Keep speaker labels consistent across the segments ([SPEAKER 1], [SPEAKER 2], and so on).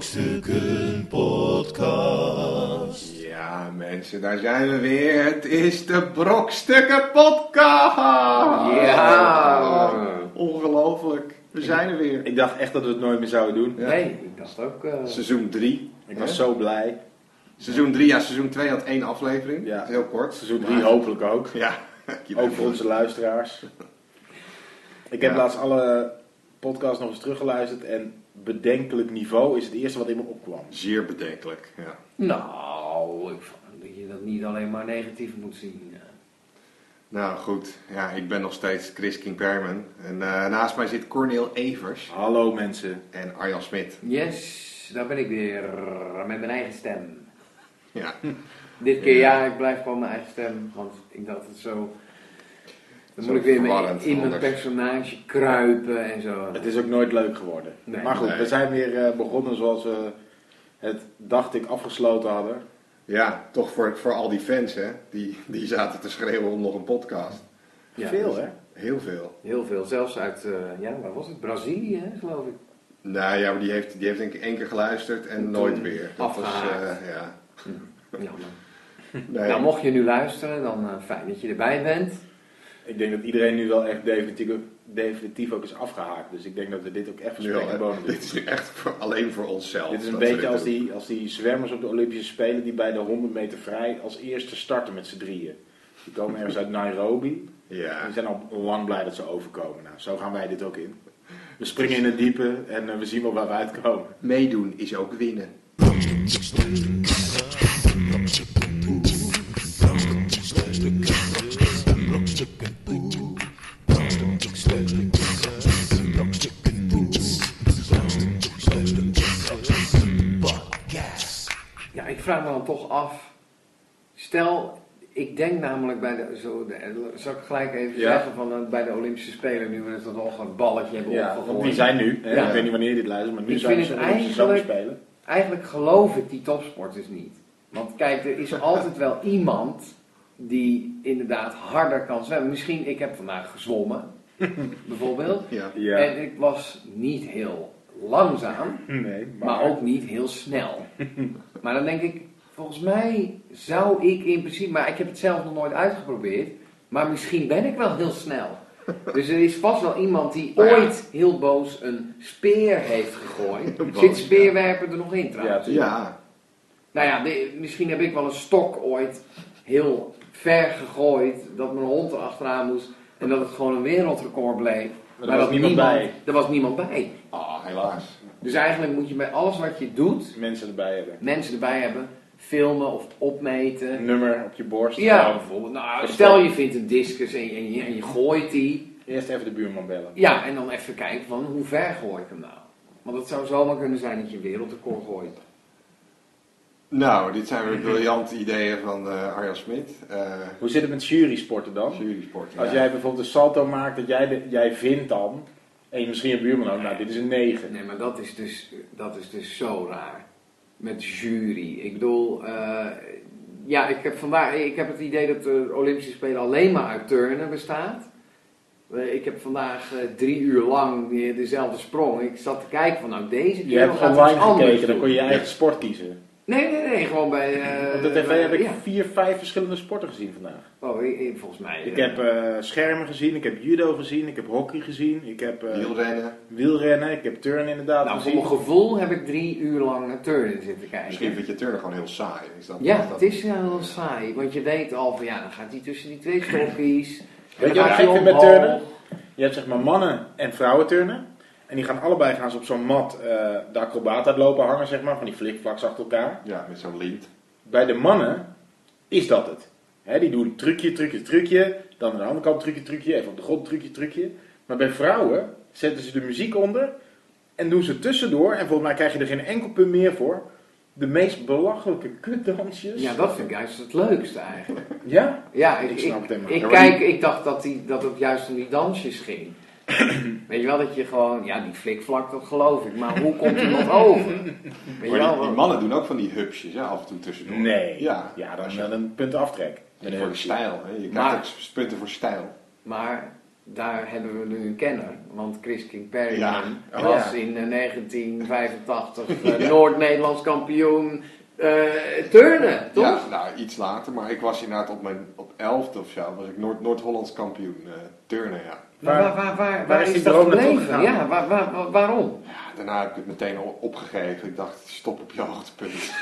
[SPEAKER 1] Brokstukken Podcast.
[SPEAKER 2] Ja, mensen, daar zijn we weer. Het is de Brokstukken Podcast!
[SPEAKER 3] Ah.
[SPEAKER 4] Ja.
[SPEAKER 2] Ongelooflijk. We zijn er weer.
[SPEAKER 4] Ik dacht echt dat we het nooit meer zouden doen.
[SPEAKER 2] Ja.
[SPEAKER 3] Nee, ik dacht ook. eh,
[SPEAKER 2] Seizoen 3.
[SPEAKER 4] Ik was zo blij.
[SPEAKER 2] Seizoen 3, ja, seizoen 2 had één aflevering.
[SPEAKER 4] Ja.
[SPEAKER 2] Dat is heel kort.
[SPEAKER 4] Seizoen 3 hopelijk ook.
[SPEAKER 2] Ja. Je bent
[SPEAKER 4] Ook voor onze luisteraars. Ik heb
[SPEAKER 2] Ja.
[SPEAKER 4] laatst alle podcasts nog eens teruggeluisterd. En bedenkelijk niveau is het eerste wat in me opkwam.
[SPEAKER 2] Zeer bedenkelijk. Ja.
[SPEAKER 3] nou, ik vond dat je dat niet alleen maar negatief moet zien. eh.
[SPEAKER 2] Nou goed, ja, ik ben nog steeds Chris King Perman. En eh, naast mij zit Corneel Evers
[SPEAKER 4] Hallo mensen.
[SPEAKER 2] en Arjan Smit.
[SPEAKER 3] Yes, daar ben ik weer eh, met mijn eigen stem.
[SPEAKER 2] Ja.
[SPEAKER 3] Dit keer ja, ik blijf gewoon mijn eigen stem, want ik dacht het zo. Dan
[SPEAKER 2] Zo
[SPEAKER 3] moet ik weer
[SPEAKER 2] verwarrend
[SPEAKER 3] met- in mijn
[SPEAKER 2] anders.
[SPEAKER 3] personage kruipen en zo.
[SPEAKER 4] Het is ook nooit leuk geworden.
[SPEAKER 3] Nee.
[SPEAKER 4] maar goed,
[SPEAKER 2] Nee.
[SPEAKER 4] we zijn weer eh, begonnen zoals we het, dacht ik, afgesloten hadden.
[SPEAKER 2] ja, toch voor, voor al die fans, hè. Die, die zaten te schreeuwen om nog een podcast.
[SPEAKER 3] Ja, dus
[SPEAKER 4] Veel
[SPEAKER 2] dus-
[SPEAKER 4] hè?
[SPEAKER 2] Heel veel.
[SPEAKER 3] Heel veel, zelfs uit, eh, ja, waar was het? Brazilië, hè, geloof ik.
[SPEAKER 2] Nou ja, maar die heeft, die heeft denk ik één keer geluisterd en
[SPEAKER 3] Toen
[SPEAKER 2] nooit meer. Dat was,
[SPEAKER 3] afgehaakt.
[SPEAKER 2] eh, ja.
[SPEAKER 3] Jammer.
[SPEAKER 2] Nee.
[SPEAKER 3] Nou, mocht je nu luisteren, dan eh, fijn dat je erbij bent.
[SPEAKER 4] Ik denk dat iedereen nu wel echt definitief, definitief ook is afgehaakt. Dus ik denk dat we dit ook echt
[SPEAKER 2] Nu al,
[SPEAKER 4] verspreken
[SPEAKER 2] hè.
[SPEAKER 4] bonen doen.
[SPEAKER 2] dit is nu echt voor, alleen voor onszelf.
[SPEAKER 4] Dit is een
[SPEAKER 2] dat we
[SPEAKER 4] beetje
[SPEAKER 2] dit
[SPEAKER 4] als
[SPEAKER 2] doen.
[SPEAKER 4] die, als die zwemmers op de Olympische Spelen die bij de 100 meter vrij als eerste starten met z'n drieën. Die komen ergens uit Nairobi. En
[SPEAKER 2] Ja,
[SPEAKER 4] die zijn al lang blij dat ze overkomen. Nou, zo gaan wij dit ook in. We springen in het diepe en eh, we zien wel waar we uitkomen.
[SPEAKER 2] meedoen is ook winnen.
[SPEAKER 3] Ja, ik vraag me dan toch af. Stel, ik denk namelijk bij de. Zo, de zal ik gelijk even
[SPEAKER 4] Ja.
[SPEAKER 3] zeggen van eh, bij de Olympische Spelen, nu we het toch een balletje hebben
[SPEAKER 4] Ja,
[SPEAKER 3] opgegooid.
[SPEAKER 4] want die zijn nu. hè.
[SPEAKER 3] Ja.
[SPEAKER 4] Ik weet niet wanneer je dit luistert, maar nu
[SPEAKER 3] Ik
[SPEAKER 4] zijn
[SPEAKER 3] vind
[SPEAKER 4] ze
[SPEAKER 3] het
[SPEAKER 4] op de
[SPEAKER 3] eigenlijk-
[SPEAKER 4] zomerspelen.
[SPEAKER 3] Eigenlijk geloof ik die topsporters niet. Want kijk, er is altijd wel iemand die inderdaad harder kan zwemmen. Misschien, ik heb vandaag gezwommen, bijvoorbeeld.
[SPEAKER 2] Ja.
[SPEAKER 4] Ja.
[SPEAKER 3] En ik was niet heel langzaam.
[SPEAKER 4] Hm. Nee,
[SPEAKER 3] Maar, ook niet heel snel. maar dan denk ik, volgens mij zou ik in principe, maar ik heb het zelf nog nooit uitgeprobeerd, maar misschien ben ik wel heel snel. Dus er is vast wel iemand die
[SPEAKER 2] Nou ja.
[SPEAKER 3] ooit heel boos een speer heeft gegooid.
[SPEAKER 2] Heel boos,
[SPEAKER 3] Zit speerwerpen er nog in
[SPEAKER 4] Ja,
[SPEAKER 3] trouwens?
[SPEAKER 4] tuurlijk.
[SPEAKER 2] Ja,
[SPEAKER 3] Nou ja, de- misschien heb ik wel een stok ooit heel ver gegooid, dat mijn hond erachteraan moest en dat het gewoon een wereldrecord bleef.
[SPEAKER 4] Maar er was niemand bij.
[SPEAKER 3] Er was niemand bij.
[SPEAKER 2] ah, helaas.
[SPEAKER 3] Dus eigenlijk moet je bij alles wat je doet,
[SPEAKER 4] Mensen erbij hebben.
[SPEAKER 3] mensen erbij hebben, filmen of opmeten.
[SPEAKER 4] Een nummer op je borst.
[SPEAKER 3] Ja,
[SPEAKER 4] Nou,
[SPEAKER 3] bijvoorbeeld. Nou, stel je vindt een discus en je, en je, en je gooit die.
[SPEAKER 4] Eerst even de buurman bellen.
[SPEAKER 3] Ja, en dan even kijken van hoe ver gooi ik hem nou? Want het zou zomaar kunnen zijn dat je een wereldrecord gooit.
[SPEAKER 2] Nou, dit zijn weer briljante ideeën van eh Arjan Smit. eh
[SPEAKER 4] Hoe zit het met jury sporten dan?
[SPEAKER 2] jury sport.
[SPEAKER 4] Als jij bijvoorbeeld een salto maakt, dat jij, de- jij vindt dan, en je misschien een buurman ook, nou dit is een 9.
[SPEAKER 3] Nee, maar dat is dus, dat is dus zo raar. Met jury. Ik bedoel, eh, ja, ik heb, vandaag, ik heb het idee dat de Olympische Spelen alleen maar uit turnen bestaat. Eh, Ik heb vandaag eh, drie uur lang weer dezelfde sprong. Ik zat te kijken van, nou deze keer
[SPEAKER 4] Je hebt
[SPEAKER 3] gaat iets
[SPEAKER 4] online
[SPEAKER 3] anders
[SPEAKER 4] gekeken, dan
[SPEAKER 3] doen.
[SPEAKER 4] kon je je
[SPEAKER 2] Ja.
[SPEAKER 4] eigen sport kiezen.
[SPEAKER 3] Nee, nee, nee, gewoon bij... eh,
[SPEAKER 4] Op de tv
[SPEAKER 3] bij-
[SPEAKER 4] heb ik
[SPEAKER 3] ja.
[SPEAKER 4] vier, vijf verschillende sporten gezien vandaag.
[SPEAKER 3] Oh, ik- ik- volgens mij...
[SPEAKER 4] Ik
[SPEAKER 3] eh,
[SPEAKER 4] heb eh, schermen gezien, ik heb judo gezien, ik heb hockey gezien, ik heb eh,
[SPEAKER 2] Wielrennen.
[SPEAKER 4] wielrennen, ik heb turn inderdaad
[SPEAKER 3] nou, voor
[SPEAKER 4] gezien.
[SPEAKER 3] mijn gevoel heb ik drie uur lang naar turnen zitten kijken.
[SPEAKER 2] Misschien vind je turnen gewoon heel saai. Is dat,
[SPEAKER 3] Ja,
[SPEAKER 2] is dat-
[SPEAKER 3] het is heel saai. Want je weet al van, ja, dan gaat hij tussen die twee stokjes.
[SPEAKER 4] Weet
[SPEAKER 3] dan
[SPEAKER 4] je wat
[SPEAKER 3] gaat
[SPEAKER 4] ik vind
[SPEAKER 3] hij
[SPEAKER 4] met
[SPEAKER 3] omhoog.
[SPEAKER 4] turnen? Je hebt zeg maar mannen en vrouwen turnen. En die gaan allebei gaan ze op zo'n mat eh, de acrobaat uitlopen hangen, zeg maar, van die flikflaks achter elkaar.
[SPEAKER 2] Ja, met zo'n lint.
[SPEAKER 4] Bij de mannen is dat het. Hè, die doen trucje, trucje, trucje. Dan aan de andere kant trucje, trucje. Even op de grond trucje, trucje. Maar bij vrouwen zetten ze de muziek onder. En doen ze tussendoor. En volgens mij krijg je er geen enkel punt meer voor. De meest belachelijke kutdansjes.
[SPEAKER 3] Ja, dat vind ik juist het leukste eigenlijk.
[SPEAKER 4] Ja?
[SPEAKER 3] Ja, ik,
[SPEAKER 4] Ik
[SPEAKER 3] ik,
[SPEAKER 4] snap het helemaal.
[SPEAKER 3] ik
[SPEAKER 2] Ja, maar
[SPEAKER 3] kijk, ik dacht dat, die, dat het juist om die dansjes ging. Weet je wel, dat je gewoon, ja, die flikvlak, dat geloof ik. Maar hoe komt iemand over? Weet je
[SPEAKER 2] Maar
[SPEAKER 3] wel,
[SPEAKER 2] die, die
[SPEAKER 3] want-
[SPEAKER 2] mannen doen ook van die hupsjes, hè, af en toe tussendoor.
[SPEAKER 4] Nee.
[SPEAKER 2] Ja,
[SPEAKER 4] dan, dan een punt aftrek.
[SPEAKER 2] Voor de stijl. Hè. Je krijgt
[SPEAKER 3] Maar-
[SPEAKER 2] ook punten voor stijl.
[SPEAKER 3] Maar daar hebben we nu een kenner. Want Chris King Perry
[SPEAKER 2] Ja.
[SPEAKER 4] Oh,
[SPEAKER 3] was
[SPEAKER 4] ja.
[SPEAKER 3] in eh, 1985 eh, Noord-Nederlands kampioen eh, turnen, toch?
[SPEAKER 2] Ja, nou, iets later, maar ik was inderdaad op mijn op elfde of zo, was ik Noord- Noord-Hollands kampioen eh, turnen, ja.
[SPEAKER 3] Waar,
[SPEAKER 4] Waar-
[SPEAKER 3] waar, waar, waar,
[SPEAKER 4] waar is
[SPEAKER 3] is,
[SPEAKER 4] die
[SPEAKER 3] dat
[SPEAKER 4] droom naartoe
[SPEAKER 3] gebleven?
[SPEAKER 4] gegaan?
[SPEAKER 3] Ja, waar, waar, waar- waarom?
[SPEAKER 2] Ja, Daarna heb ik het meteen al opgegeven. Ik dacht, stop op je hoogtepunt.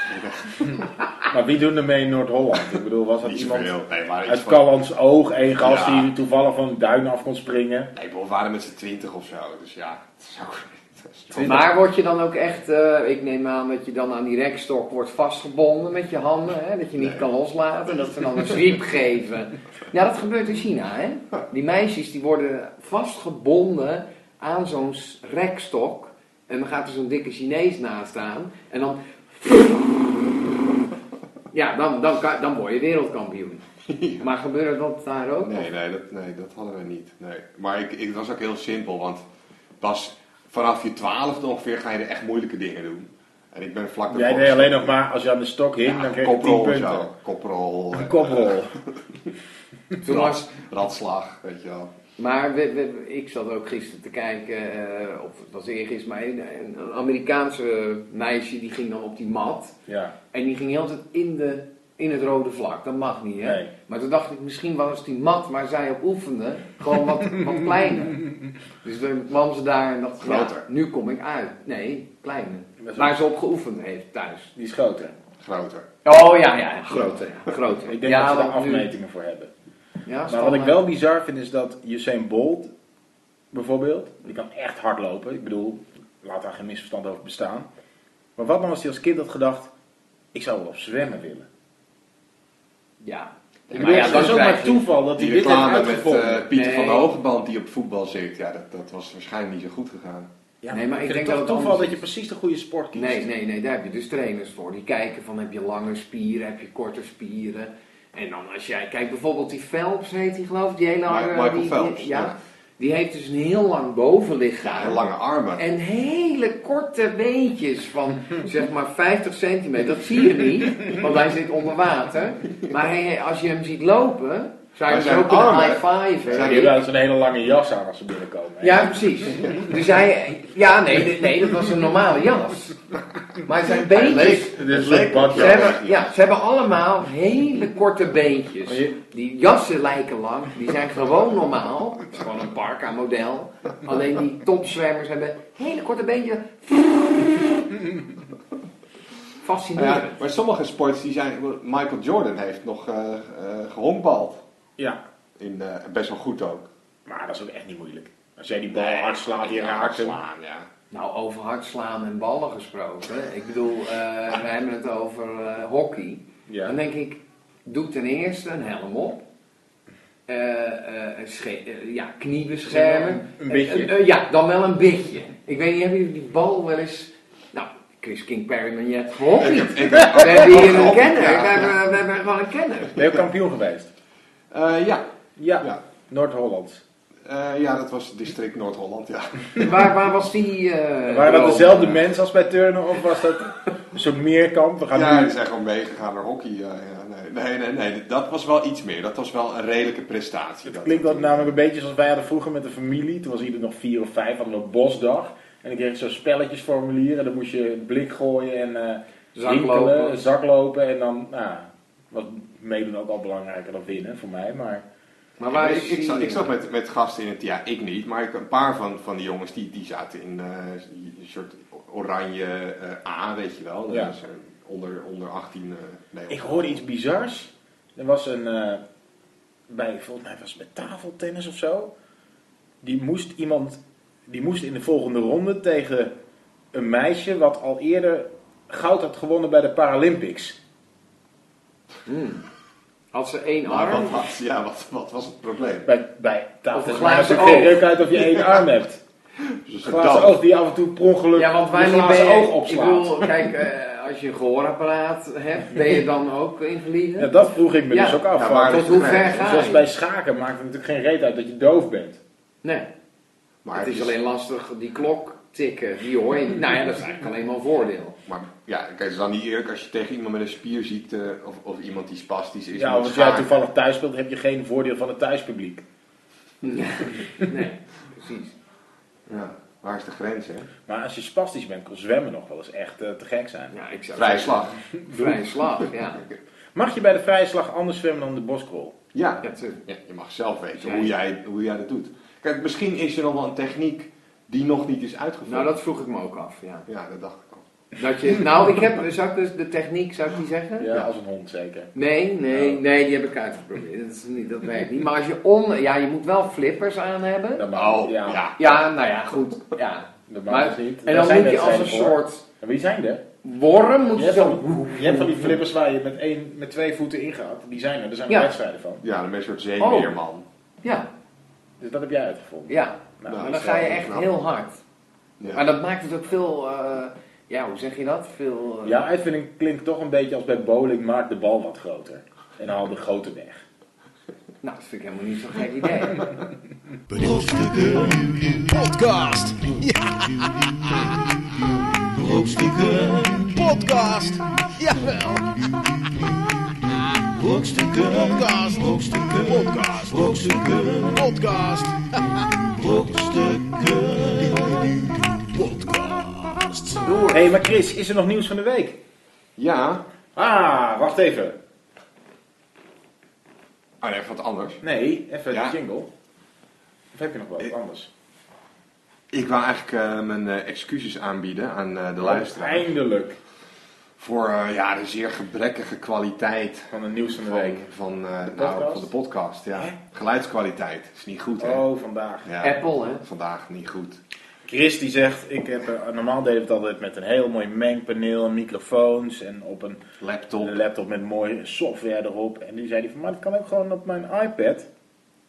[SPEAKER 4] Maar wie doen er mee in Noord-Holland? Ik bedoel, was dat
[SPEAKER 2] Niet
[SPEAKER 4] iemand
[SPEAKER 2] zoveel. Nee, maar iets
[SPEAKER 4] uit
[SPEAKER 2] van...
[SPEAKER 4] Callans Oog, één gast
[SPEAKER 2] Ja.
[SPEAKER 4] die toevallig van duinen af kon springen?
[SPEAKER 2] Nee, we waren met z'n twintig of zo, dus ja. Het is ook... het is toch-
[SPEAKER 4] Twintig.
[SPEAKER 3] Maar word je dan ook echt, eh, ik neem aan dat je dan aan die rekstok wordt vastgebonden met je handen, hè, dat je niet
[SPEAKER 2] Nee.
[SPEAKER 3] kan loslaten, dat ze dan een zwiep geven. Ja, dat gebeurt in China, hè? Die meisjes die worden vastgebonden aan zo'n s- rekstok en dan gaat er zo'n dikke Chinees naast staan en dan... Ja, dan, dan, kan- dan word je wereldkampioen. Maar gebeurt dat daar ook?
[SPEAKER 2] Nee, nee dat, nee, dat hadden we niet. Nee. Maar ik, ik, het was ook heel simpel, want pas vanaf je twaalfde ongeveer ga je er echt moeilijke dingen doen. En ik ben vlak
[SPEAKER 4] Jij deed alleen nog maar, als je aan de stok hing, dan kreeg je 10
[SPEAKER 2] koprol of
[SPEAKER 4] punten.
[SPEAKER 2] zo. Koprol,
[SPEAKER 4] Een
[SPEAKER 2] eh,
[SPEAKER 4] koprol.
[SPEAKER 3] Toen was,
[SPEAKER 2] radslag, weet je wel.
[SPEAKER 3] Maar we- we- ik zat ook gisteren te kijken, eh, of het was eergisteren, maar een, een Amerikaanse meisje die ging dan op die mat.
[SPEAKER 4] Ja,
[SPEAKER 3] En die ging heel altijd in, de, in het rode vlak, dat mag niet hè.
[SPEAKER 4] nee.
[SPEAKER 3] Maar toen dacht ik, misschien was die mat waar zij op oefende gewoon wat, wat kleiner. Dus dan kwam ze daar en dacht,
[SPEAKER 2] Groter.
[SPEAKER 3] ja, nu kom ik uit. Nee, kleiner.
[SPEAKER 4] Dat is
[SPEAKER 3] Waar ze op geoefend heeft thuis.
[SPEAKER 4] Die is groter.
[SPEAKER 2] Groter.
[SPEAKER 3] Oh ja, ja,
[SPEAKER 4] Groter.
[SPEAKER 3] ja, groter.
[SPEAKER 4] Ik denk
[SPEAKER 3] ja,
[SPEAKER 4] dat ze daar
[SPEAKER 3] want nu-
[SPEAKER 4] afmetingen voor hebben.
[SPEAKER 3] Ja,
[SPEAKER 4] Maar wat ik wel bizar vind is dat Usain Bolt bijvoorbeeld, die kan echt hard lopen. Ik bedoel, laat daar geen misverstand over bestaan. Maar wat nou als hij als kind had gedacht, ik zou wel op zwemmen willen.
[SPEAKER 3] Ja.
[SPEAKER 4] Ik
[SPEAKER 3] Maar
[SPEAKER 4] bedoel,
[SPEAKER 3] ja,
[SPEAKER 4] het
[SPEAKER 3] dan
[SPEAKER 4] was ook
[SPEAKER 3] krijg
[SPEAKER 4] maar
[SPEAKER 3] je-
[SPEAKER 4] toeval dat hij
[SPEAKER 2] Die
[SPEAKER 4] dit heeft
[SPEAKER 2] reclame met
[SPEAKER 4] uitgevonden.
[SPEAKER 2] eh, Pieter van de
[SPEAKER 3] Nee.
[SPEAKER 2] Hogeband die op voetbal zit, ja, dat, dat was waarschijnlijk niet zo goed gegaan.
[SPEAKER 4] Ja,
[SPEAKER 3] Nee, maar ik
[SPEAKER 4] vind
[SPEAKER 3] denk
[SPEAKER 4] het
[SPEAKER 3] dat het
[SPEAKER 4] toch toeval
[SPEAKER 3] anders
[SPEAKER 4] dat je precies de goede sport kiest.
[SPEAKER 3] Nee, nee, nee, daar heb je dus trainers voor. Die kijken van heb je lange spieren, heb je korte spieren. En dan als jij, kijk bijvoorbeeld die Phelps heet die geloof ik, die hele
[SPEAKER 2] Ma-
[SPEAKER 3] harde-
[SPEAKER 2] Michael
[SPEAKER 3] Nou, eh, die-
[SPEAKER 2] Phelps,
[SPEAKER 3] die- ja,
[SPEAKER 2] ja.
[SPEAKER 3] die heeft dus een heel lang bovenlichaam.
[SPEAKER 2] En lange armen.
[SPEAKER 3] En hele korte beentjes van zeg maar 50 centimeter. Dat zie je niet, want hij zit onder water. Maar hij, als je hem ziet lopen, zou je
[SPEAKER 2] Maar
[SPEAKER 3] hem
[SPEAKER 2] zijn
[SPEAKER 3] zo kunnen
[SPEAKER 2] armen-
[SPEAKER 3] high five.
[SPEAKER 4] Die hebben wel eens een hele lange jas aan als ze binnenkomen. hè?
[SPEAKER 3] Ja, precies. Dus hij, ja, nee, nee, dat was een normale jas. Maar zijn
[SPEAKER 2] Hij
[SPEAKER 3] beentjes,
[SPEAKER 2] leek-
[SPEAKER 4] Dit is
[SPEAKER 2] leek
[SPEAKER 4] een badjas.
[SPEAKER 2] op
[SPEAKER 3] ze
[SPEAKER 2] jou,
[SPEAKER 3] hebben,
[SPEAKER 2] echt.
[SPEAKER 3] ja, ze hebben allemaal hele korte beentjes.
[SPEAKER 4] Maar je-
[SPEAKER 3] Die jassen lijken lang, die zijn gewoon normaal. Het is gewoon een parka model. Alleen die topzwemmers hebben hele korte beentjes. Fascinerend.
[SPEAKER 2] Nou Ja, maar sommige sports die zijn. Michael Jordan heeft nog eh eh, gehonkbald.
[SPEAKER 4] ja,
[SPEAKER 2] In, eh, best wel goed ook.
[SPEAKER 4] maar dat is ook echt niet moeilijk. Als jij die bal hard slaat, je raakt hem.
[SPEAKER 2] Slaan, ja.
[SPEAKER 3] Nou, over hard slaan en ballen gesproken. Ik bedoel, eh, we hebben het over eh, hockey.
[SPEAKER 4] Ja.
[SPEAKER 3] Dan denk ik, doe ten eerste een helm op. Eh, eh, een sche- eh, ja, kniebeschermen.
[SPEAKER 4] Een beetje.
[SPEAKER 3] Eh, eh, eh, ja, dan wel een beetje. Ik weet niet, hebben jullie die bal wel eens... Nou, Chris King Perryman, je hebt gehoord
[SPEAKER 2] Ik
[SPEAKER 3] niet.
[SPEAKER 2] heb- ik heb-
[SPEAKER 3] We hebben hier een
[SPEAKER 2] gehoord,
[SPEAKER 3] kenner.
[SPEAKER 2] ja.
[SPEAKER 3] We hebben, we hebben gewoon een kenner.
[SPEAKER 4] Ben je ook kampioen geweest?
[SPEAKER 2] Eh, ja.
[SPEAKER 4] Ja,
[SPEAKER 2] Ja.
[SPEAKER 4] Noord-Holland.
[SPEAKER 2] Eh, ja, dat was district Noord-Holland, ja.
[SPEAKER 3] Waar, waar was die... eh,
[SPEAKER 4] Waren dat
[SPEAKER 3] droom?
[SPEAKER 4] dezelfde mensen als bij turnen of was dat een soort meerkamp? We gaan
[SPEAKER 2] Ja,
[SPEAKER 4] nu...
[SPEAKER 2] die zijn gewoon meegegaan naar hockey. ja, ja, nee, nee, nee, nee, dat was wel iets meer. Dat was wel een redelijke prestatie.
[SPEAKER 4] Het klinkt dat namelijk een beetje zoals wij hadden vroeger met de familie. Toen was ieder nog vier of vijf, hadden we een bosdag. En dan kreeg je zo'n spelletjesformulier en dan moest je een blik gooien en eh
[SPEAKER 3] Zak
[SPEAKER 4] winkelen,
[SPEAKER 3] lopen.
[SPEAKER 4] zak lopen. En dan, nou, wat meedoen ook al belangrijker dan winnen voor mij. Maar
[SPEAKER 3] Maar waar
[SPEAKER 2] ik,
[SPEAKER 3] is
[SPEAKER 2] ik,
[SPEAKER 3] die-
[SPEAKER 2] zat, ik zat met, met gasten in het, ja, ik niet, maar ik, een paar van, van die jongens die, die zaten in eh, een soort oranje eh, A, weet je wel. Dat
[SPEAKER 4] Ja.
[SPEAKER 2] is, eh, onder, onder 18. eh, nee,
[SPEAKER 4] ik hoorde iets bizars. Er was een, eh, bij, volgens mij was het bij tafeltennis of zo. Die moest iemand, die moest in de volgende ronde tegen een meisje wat al eerder goud had gewonnen bij de Paralympics.
[SPEAKER 3] Hmm. Had ze één
[SPEAKER 4] Nou,
[SPEAKER 2] Maar
[SPEAKER 3] arm?
[SPEAKER 2] wat, was, ja, wat, wat was het probleem?
[SPEAKER 4] Bij, bij
[SPEAKER 3] Of een
[SPEAKER 4] tafel maakt
[SPEAKER 3] glazen
[SPEAKER 4] het geen
[SPEAKER 3] oog.
[SPEAKER 4] reuk uit of je één arm hebt.
[SPEAKER 2] Dus
[SPEAKER 4] Een glazen oog die af en toe per ongeluk
[SPEAKER 3] Ja, want wij
[SPEAKER 4] je
[SPEAKER 3] niet
[SPEAKER 4] glazen
[SPEAKER 3] ben
[SPEAKER 4] oog
[SPEAKER 3] Ik
[SPEAKER 4] opslaat.
[SPEAKER 3] bedoel, kijk, eh, als je een gehoorapparaat hebt, ben je dan ook invalide?
[SPEAKER 4] Ja, dat vroeg ik me
[SPEAKER 3] Ja.
[SPEAKER 4] dus ook af.
[SPEAKER 2] Ja,
[SPEAKER 4] want
[SPEAKER 2] maar-
[SPEAKER 3] Tot hoe ver
[SPEAKER 2] Nee,
[SPEAKER 3] ga
[SPEAKER 4] Zoals
[SPEAKER 3] je?
[SPEAKER 4] bij schaken maakt het natuurlijk geen reet uit dat je doof bent.
[SPEAKER 3] Nee,
[SPEAKER 2] maar
[SPEAKER 3] het is alleen lastig, die klok tikken, die hoor je niet. Nou ja, dat is eigenlijk alleen maar een voordeel.
[SPEAKER 2] Maar ja, kijk, het is dan niet eerlijk als je tegen iemand met een spierziekte of, of iemand die spastisch is.
[SPEAKER 4] Ja,
[SPEAKER 2] moet
[SPEAKER 4] want als jij
[SPEAKER 2] schaken.
[SPEAKER 4] toevallig thuis speelt, heb je geen voordeel van het thuispubliek.
[SPEAKER 3] nee, precies.
[SPEAKER 2] Ja. Waar is de grens, hè?
[SPEAKER 4] Maar als je spastisch bent, kon zwemmen nog wel eens echt eh, te gek zijn.
[SPEAKER 3] Ja, ik zou
[SPEAKER 2] Vrij slag.
[SPEAKER 3] Vrije slag, ja.
[SPEAKER 4] Mag je bij de vrije slag anders zwemmen dan de boskrol?
[SPEAKER 2] Ja.
[SPEAKER 3] Dat, eh,
[SPEAKER 2] ja. Je mag zelf weten
[SPEAKER 3] Ja.
[SPEAKER 2] hoe, jij, hoe jij dat doet. Kijk, misschien is er nog wel een techniek die nog niet is uitgevoerd.
[SPEAKER 3] nou, dat vroeg ik me ook af, ja.
[SPEAKER 2] Ja, dat dacht ik al.
[SPEAKER 3] Dat je, nou, ik heb, zou ik dus de techniek, zou ik die zeggen?
[SPEAKER 4] Ja, als een hond zeker.
[SPEAKER 3] Nee, nee, nee, die heb ik uitgeprobeerd. Dat, is niet, dat werkt niet. Maar als je on... Ja, je moet wel flippers aan hebben.
[SPEAKER 4] Normaal.
[SPEAKER 2] Oh,
[SPEAKER 4] ja.
[SPEAKER 2] ja.
[SPEAKER 3] Ja, nou ja, goed. Ja.
[SPEAKER 4] Normaal
[SPEAKER 3] Maar,
[SPEAKER 4] is niet.
[SPEAKER 3] en
[SPEAKER 4] Daar
[SPEAKER 3] dan
[SPEAKER 4] zijn
[SPEAKER 3] moet je als een
[SPEAKER 4] wedstrijden voor.
[SPEAKER 3] soort
[SPEAKER 4] En wie zijn er?
[SPEAKER 3] worm moet
[SPEAKER 4] Je
[SPEAKER 3] je
[SPEAKER 4] hebt,
[SPEAKER 3] zo...
[SPEAKER 4] van die, je hebt van die flippers waar je met, één, met twee voeten in gaat. Die zijn er, daar zijn er
[SPEAKER 3] Ja.
[SPEAKER 4] wedstrijden van.
[SPEAKER 2] Ja, dan ben je een soort zeemeerman.
[SPEAKER 3] Ja,
[SPEAKER 4] Dus dat heb jij uitgevonden.
[SPEAKER 3] ja.
[SPEAKER 4] Nou,
[SPEAKER 3] Maar
[SPEAKER 2] dat
[SPEAKER 3] dan
[SPEAKER 2] is
[SPEAKER 3] ga je
[SPEAKER 2] wel
[SPEAKER 3] echt
[SPEAKER 2] knap.
[SPEAKER 3] heel hard.
[SPEAKER 2] Ja.
[SPEAKER 3] Maar dat maakt het ook veel... eh, ja, hoe zeg je dat? Veel... eh,
[SPEAKER 4] Jouw uitvinding klinkt toch een beetje als bij bowling, maak de bal wat groter. En haal de grote weg.
[SPEAKER 3] Nou, dat vind ik helemaal niet zo'n gek idee.
[SPEAKER 1] Brokstukken podcast. Ja. Brokstukken podcast. Jawel. Brokstukken podcast. Brokstukken podcast. Brokstukken podcast. Brokstukken podcast.
[SPEAKER 4] Hé, hey, maar Chris, is er nog nieuws van de week?
[SPEAKER 2] Ja.
[SPEAKER 4] Ah, wacht even.
[SPEAKER 2] Oh nee, wat anders.
[SPEAKER 4] Nee, even
[SPEAKER 2] Ja.
[SPEAKER 4] de jingle. Of heb je nog wat
[SPEAKER 2] Ik-
[SPEAKER 4] anders?
[SPEAKER 2] Ik wou eigenlijk eh, mijn eh, excuses aanbieden aan eh, de luisteraar.
[SPEAKER 4] Eindelijk
[SPEAKER 2] Voor eh, ja, de zeer gebrekkige kwaliteit
[SPEAKER 4] van het nieuws van de
[SPEAKER 2] van,
[SPEAKER 4] week.
[SPEAKER 2] van, eh, nou,
[SPEAKER 4] podcast?
[SPEAKER 2] van de podcast. Ja.
[SPEAKER 4] Hè?
[SPEAKER 2] Geluidskwaliteit is niet goed, hè?
[SPEAKER 4] Oh, vandaag.
[SPEAKER 2] Ja,
[SPEAKER 3] Apple, hè?
[SPEAKER 2] vandaag niet goed.
[SPEAKER 4] Chris die zegt, ik heb, eh, normaal deden we het altijd met een heel mooi mengpaneel, microfoons en op een
[SPEAKER 2] Laptop.
[SPEAKER 4] een laptop met mooie software erop. En nu zei hij van, maar dat kan ook gewoon op mijn iPad.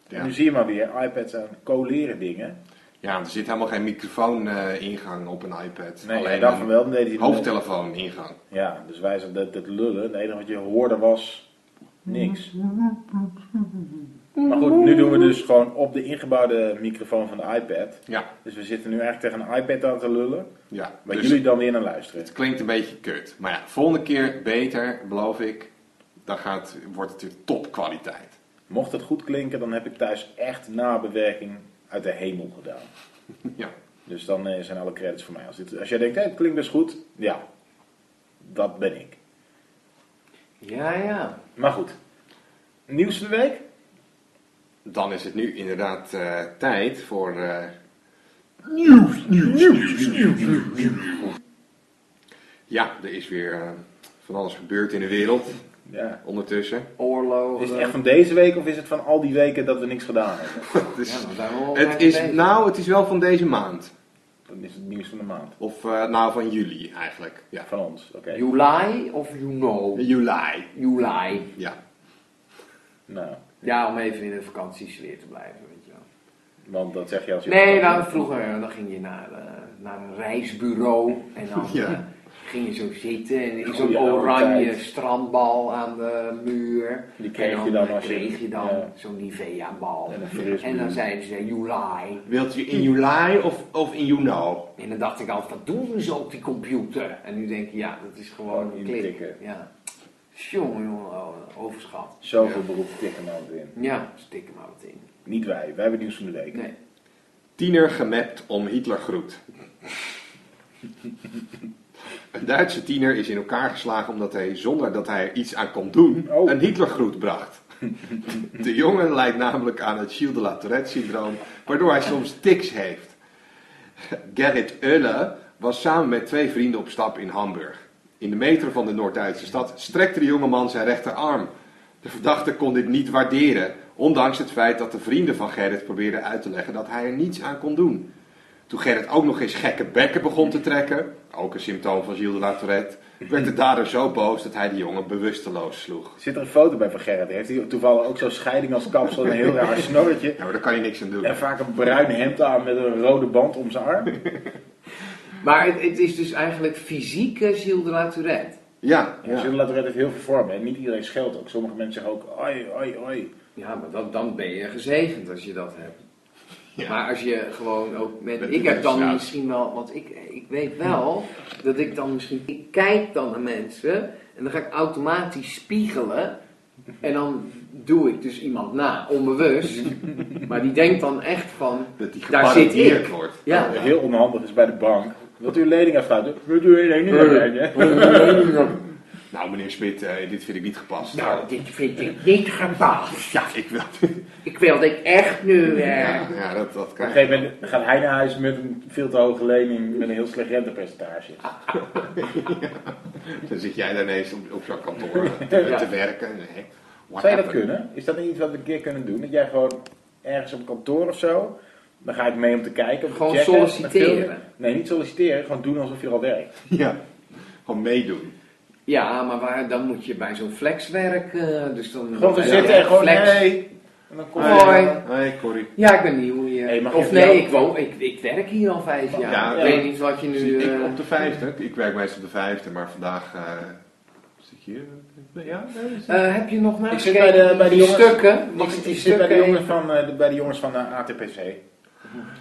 [SPEAKER 2] Ja.
[SPEAKER 4] En nu zie je maar weer, iPads zijn coleren dingen.
[SPEAKER 2] Ja, er zit helemaal geen microfoon-ingang op een iPad.
[SPEAKER 4] Nee,
[SPEAKER 2] Alleen
[SPEAKER 4] hij dacht van
[SPEAKER 2] een
[SPEAKER 4] wel, dan deed hij
[SPEAKER 2] hoofdtelefoon-ingang.
[SPEAKER 4] Ja, dus wij zeiden dat, dat lullen. Het enige wat je hoorde was niks. Maar goed, nu doen we dus gewoon op de ingebouwde microfoon van de iPad.
[SPEAKER 2] Ja,
[SPEAKER 4] Dus we zitten nu eigenlijk tegen een iPad aan te lullen.
[SPEAKER 2] ja.
[SPEAKER 4] Waar
[SPEAKER 2] Dus
[SPEAKER 4] jullie dan weer naar luisteren.
[SPEAKER 2] het klinkt een beetje kut. Maar ja, volgende keer beter, beloof ik. Dan gaat, wordt het weer topkwaliteit.
[SPEAKER 4] Mocht het goed klinken, dan heb ik thuis echt nabewerking uit de hemel gedaan.
[SPEAKER 2] Ja.
[SPEAKER 4] Dus dan eh, zijn alle credits voor mij. Als, dit, als jij denkt, hé, het klinkt best goed. Ja, dat ben ik.
[SPEAKER 3] Ja, ja.
[SPEAKER 4] Maar goed. Nieuws van de week?
[SPEAKER 2] Dan is het nu inderdaad eh, tijd voor... eh, Ja, er is weer eh, van alles gebeurd in de wereld
[SPEAKER 4] Ja.
[SPEAKER 2] ondertussen.
[SPEAKER 3] Oorlogen.
[SPEAKER 4] Is het echt van deze week of is het van al die weken dat we niks gedaan hebben?
[SPEAKER 2] Het is,
[SPEAKER 3] Ja, maar daar horen we
[SPEAKER 2] het
[SPEAKER 3] echt
[SPEAKER 2] is,
[SPEAKER 3] bij.
[SPEAKER 2] nou, het is wel van deze maand.
[SPEAKER 4] Dan is het nieuws van de maand.
[SPEAKER 2] Of eh, nou, van juli eigenlijk. Ja.
[SPEAKER 4] Van ons, oké.
[SPEAKER 3] July of you know?
[SPEAKER 2] Juli,
[SPEAKER 3] July.
[SPEAKER 2] ja.
[SPEAKER 4] Nou,
[SPEAKER 3] Ja, om even in de vakantiesfeer te blijven, weet je wel.
[SPEAKER 4] want dat zeg je als je...
[SPEAKER 3] Nee, nou, vroeger dan ging je naar, eh, naar een reisbureau en dan
[SPEAKER 2] Ja.
[SPEAKER 3] eh, ging je zo zitten en in zo'n
[SPEAKER 4] Goeie oude
[SPEAKER 3] oranje
[SPEAKER 4] tijd.
[SPEAKER 3] strandbal aan de muur.
[SPEAKER 4] Die kreeg
[SPEAKER 3] En dan
[SPEAKER 4] je dan als je-
[SPEAKER 3] kreeg je dan
[SPEAKER 4] ja.
[SPEAKER 3] zo'n Nivea-bal.
[SPEAKER 4] En een frisbee.
[SPEAKER 3] En dan zeiden ze July.
[SPEAKER 2] Wilt u in juli of, of in you know?
[SPEAKER 3] En dan dacht ik altijd, wat doen ze op die computer? En nu denk ik, ja, dat is gewoon
[SPEAKER 4] Gewoon
[SPEAKER 3] een klik.
[SPEAKER 4] intikken.
[SPEAKER 3] Ja. Jongen, jongen, oh, overschat.
[SPEAKER 4] Zoveel beroep tikken nou in.
[SPEAKER 3] Ja, stik er maar wat in.
[SPEAKER 4] Niet wij, wij hebben nieuws van de week.
[SPEAKER 3] Nee.
[SPEAKER 2] Tiener gemapt om Hitler groet. Een Duitse tiener is in elkaar geslagen omdat hij, zonder dat hij er iets aan kon doen,
[SPEAKER 4] Oh.
[SPEAKER 2] een Hitlergroet bracht. De jongen lijkt namelijk aan het Gilles de la Tourette-syndroom, waardoor hij soms tics heeft. Gerrit Euler was samen met twee vrienden op stap in Hamburg. In de metro van de Noord-Duitse stad strekte de jongeman zijn rechterarm. De verdachte kon dit niet waarderen, ondanks het feit dat de vrienden van Gerrit probeerden uit te leggen dat hij er niets aan kon doen. Toen Gerrit ook nog eens gekke bekken begon te trekken, ook een symptoom van Gilles de la Tourette, werd de dader zo boos dat hij de jongen bewusteloos sloeg.
[SPEAKER 4] Zit er een foto bij van Gerrit? Heeft hij toevallig ook zo'n scheiding als kapsel en een heel raar snorretje?
[SPEAKER 2] Ja, maar daar kan je niks aan doen.
[SPEAKER 4] En vaak een bruin hemd aan met een rode band om zijn arm?
[SPEAKER 3] Maar het, het is dus eigenlijk fysieke Gilles de la Tourette.
[SPEAKER 2] Ja, dus
[SPEAKER 4] Ja.
[SPEAKER 2] ja.
[SPEAKER 4] Zullen laten we het heel veel vormen. En niet iedereen scheldt ook. Sommige mensen zeggen ook, oi, oi, oi.
[SPEAKER 3] Ja, maar dan, dan ben je gezegend als je dat hebt.
[SPEAKER 2] Ja.
[SPEAKER 3] Maar als je gewoon ook met...
[SPEAKER 2] Met
[SPEAKER 3] ik heb dan
[SPEAKER 2] mensen, ja.
[SPEAKER 3] misschien wel... Want ik, ik weet wel dat ik dan misschien... Ik kijk dan naar mensen en dan ga ik automatisch spiegelen... En dan doe ik dus iemand na, onbewust. Maar die denkt dan echt van,
[SPEAKER 2] Dat die
[SPEAKER 3] Daar zit
[SPEAKER 2] geparodieerd
[SPEAKER 3] ik.
[SPEAKER 2] wordt.
[SPEAKER 3] ja,
[SPEAKER 4] Wat heel onhandig is bij de bank. Wilt u een lening afsluiten? We doen een lening afsluiten.
[SPEAKER 2] Nou, meneer Smit, eh, dit vind ik niet gepast.
[SPEAKER 5] Nou, dit vind ik niet gepast.
[SPEAKER 2] ja, ik wil.
[SPEAKER 5] Ik wil dit echt nu, eh...
[SPEAKER 2] Ja, ja dat, dat
[SPEAKER 4] Op een
[SPEAKER 2] kan.
[SPEAKER 4] gegeven moment gaat hij naar huis met een veel te hoge lening met een heel slecht rentepercentage.
[SPEAKER 2] Dan zit jij daar ineens op, op zo'n kantoor eh, te,
[SPEAKER 3] Ja.
[SPEAKER 2] te werken. Nee. What
[SPEAKER 4] Zou je dat
[SPEAKER 2] happened?
[SPEAKER 4] kunnen? Is dat niet iets wat we een keer kunnen doen? Dat jij gewoon ergens op kantoor of zo, dan ga ik mee om te kijken. Om te
[SPEAKER 3] Gewoon
[SPEAKER 4] checken, dan
[SPEAKER 3] solliciteren.
[SPEAKER 4] film je- Nee, niet solliciteren, gewoon doen alsof je er al werkt.
[SPEAKER 2] Ja, gewoon meedoen.
[SPEAKER 3] ja, maar waar, dan moet je bij zo'n flexwerk, eh, dus dan...
[SPEAKER 4] Gewoon gaan
[SPEAKER 3] ja,
[SPEAKER 4] zitten en gewoon,
[SPEAKER 3] flex.
[SPEAKER 4] nee. En dan kom je-
[SPEAKER 3] Hoi.
[SPEAKER 2] Hoi, Corrie.
[SPEAKER 3] Ja, ik ben nieuw hier.
[SPEAKER 4] Hey, mag je
[SPEAKER 3] of
[SPEAKER 4] even jou-
[SPEAKER 3] nee, ik, woon, ik, ik werk hier al vijf jaar.
[SPEAKER 2] Ja,
[SPEAKER 3] ik
[SPEAKER 4] ja.
[SPEAKER 3] weet niet wat je nu...
[SPEAKER 2] Zit ik
[SPEAKER 3] eh,
[SPEAKER 2] op de vijfde? Ik werk meestal op de vijfde, maar vandaag eh, zit ik hier. Ja, nee, zit-
[SPEAKER 3] eh, heb je nog
[SPEAKER 4] Ik
[SPEAKER 3] nagekeken?
[SPEAKER 4] zit bij de- bij de
[SPEAKER 3] die
[SPEAKER 4] jongens-
[SPEAKER 3] stukken?
[SPEAKER 4] Ik,
[SPEAKER 3] Mag ik die
[SPEAKER 4] ik zit bij de
[SPEAKER 3] stukken
[SPEAKER 4] jongens van, eh, de- bij de, jongens van eh, ATPC.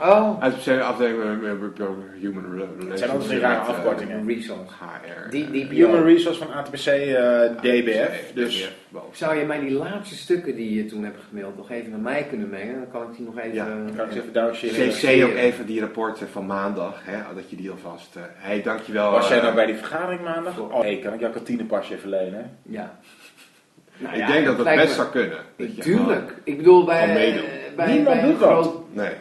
[SPEAKER 3] Oh,
[SPEAKER 2] Uit de afdeling eh, eh, Human Relations. eh,
[SPEAKER 4] Het zijn altijd weer rare afkortingen.
[SPEAKER 3] resource.
[SPEAKER 2] HR.
[SPEAKER 3] Die, die bio.
[SPEAKER 4] Human Resource van ATPC eh, DBF. Dus
[SPEAKER 2] DBF, boven.
[SPEAKER 3] Zou je mij die laatste stukken die je toen hebt gemaild nog even naar mij kunnen mengen? Dan kan ik die nog even...
[SPEAKER 2] Ja,
[SPEAKER 4] dan kan ik ze even eh, downshiften.
[SPEAKER 2] CC ook even die rapporten van maandag, hè, dat je die alvast... eh hey, dankjewel.
[SPEAKER 4] Was jij
[SPEAKER 2] eh,
[SPEAKER 4] nou bij die vergadering maandag? Oh, hey, kan ik jouw kantinepasje even lenen?
[SPEAKER 3] ja. Nou
[SPEAKER 2] Ik
[SPEAKER 3] ja,
[SPEAKER 2] denk dat dat
[SPEAKER 3] lijkt
[SPEAKER 2] best
[SPEAKER 3] me-
[SPEAKER 2] zou kunnen. Dat je
[SPEAKER 3] Tuurlijk. Ik bedoel, bij,
[SPEAKER 2] Gewoon meedoen.
[SPEAKER 3] eh, bij,
[SPEAKER 4] Niemand
[SPEAKER 3] bij een
[SPEAKER 4] doet dat.
[SPEAKER 3] groot
[SPEAKER 2] gewoon- nee.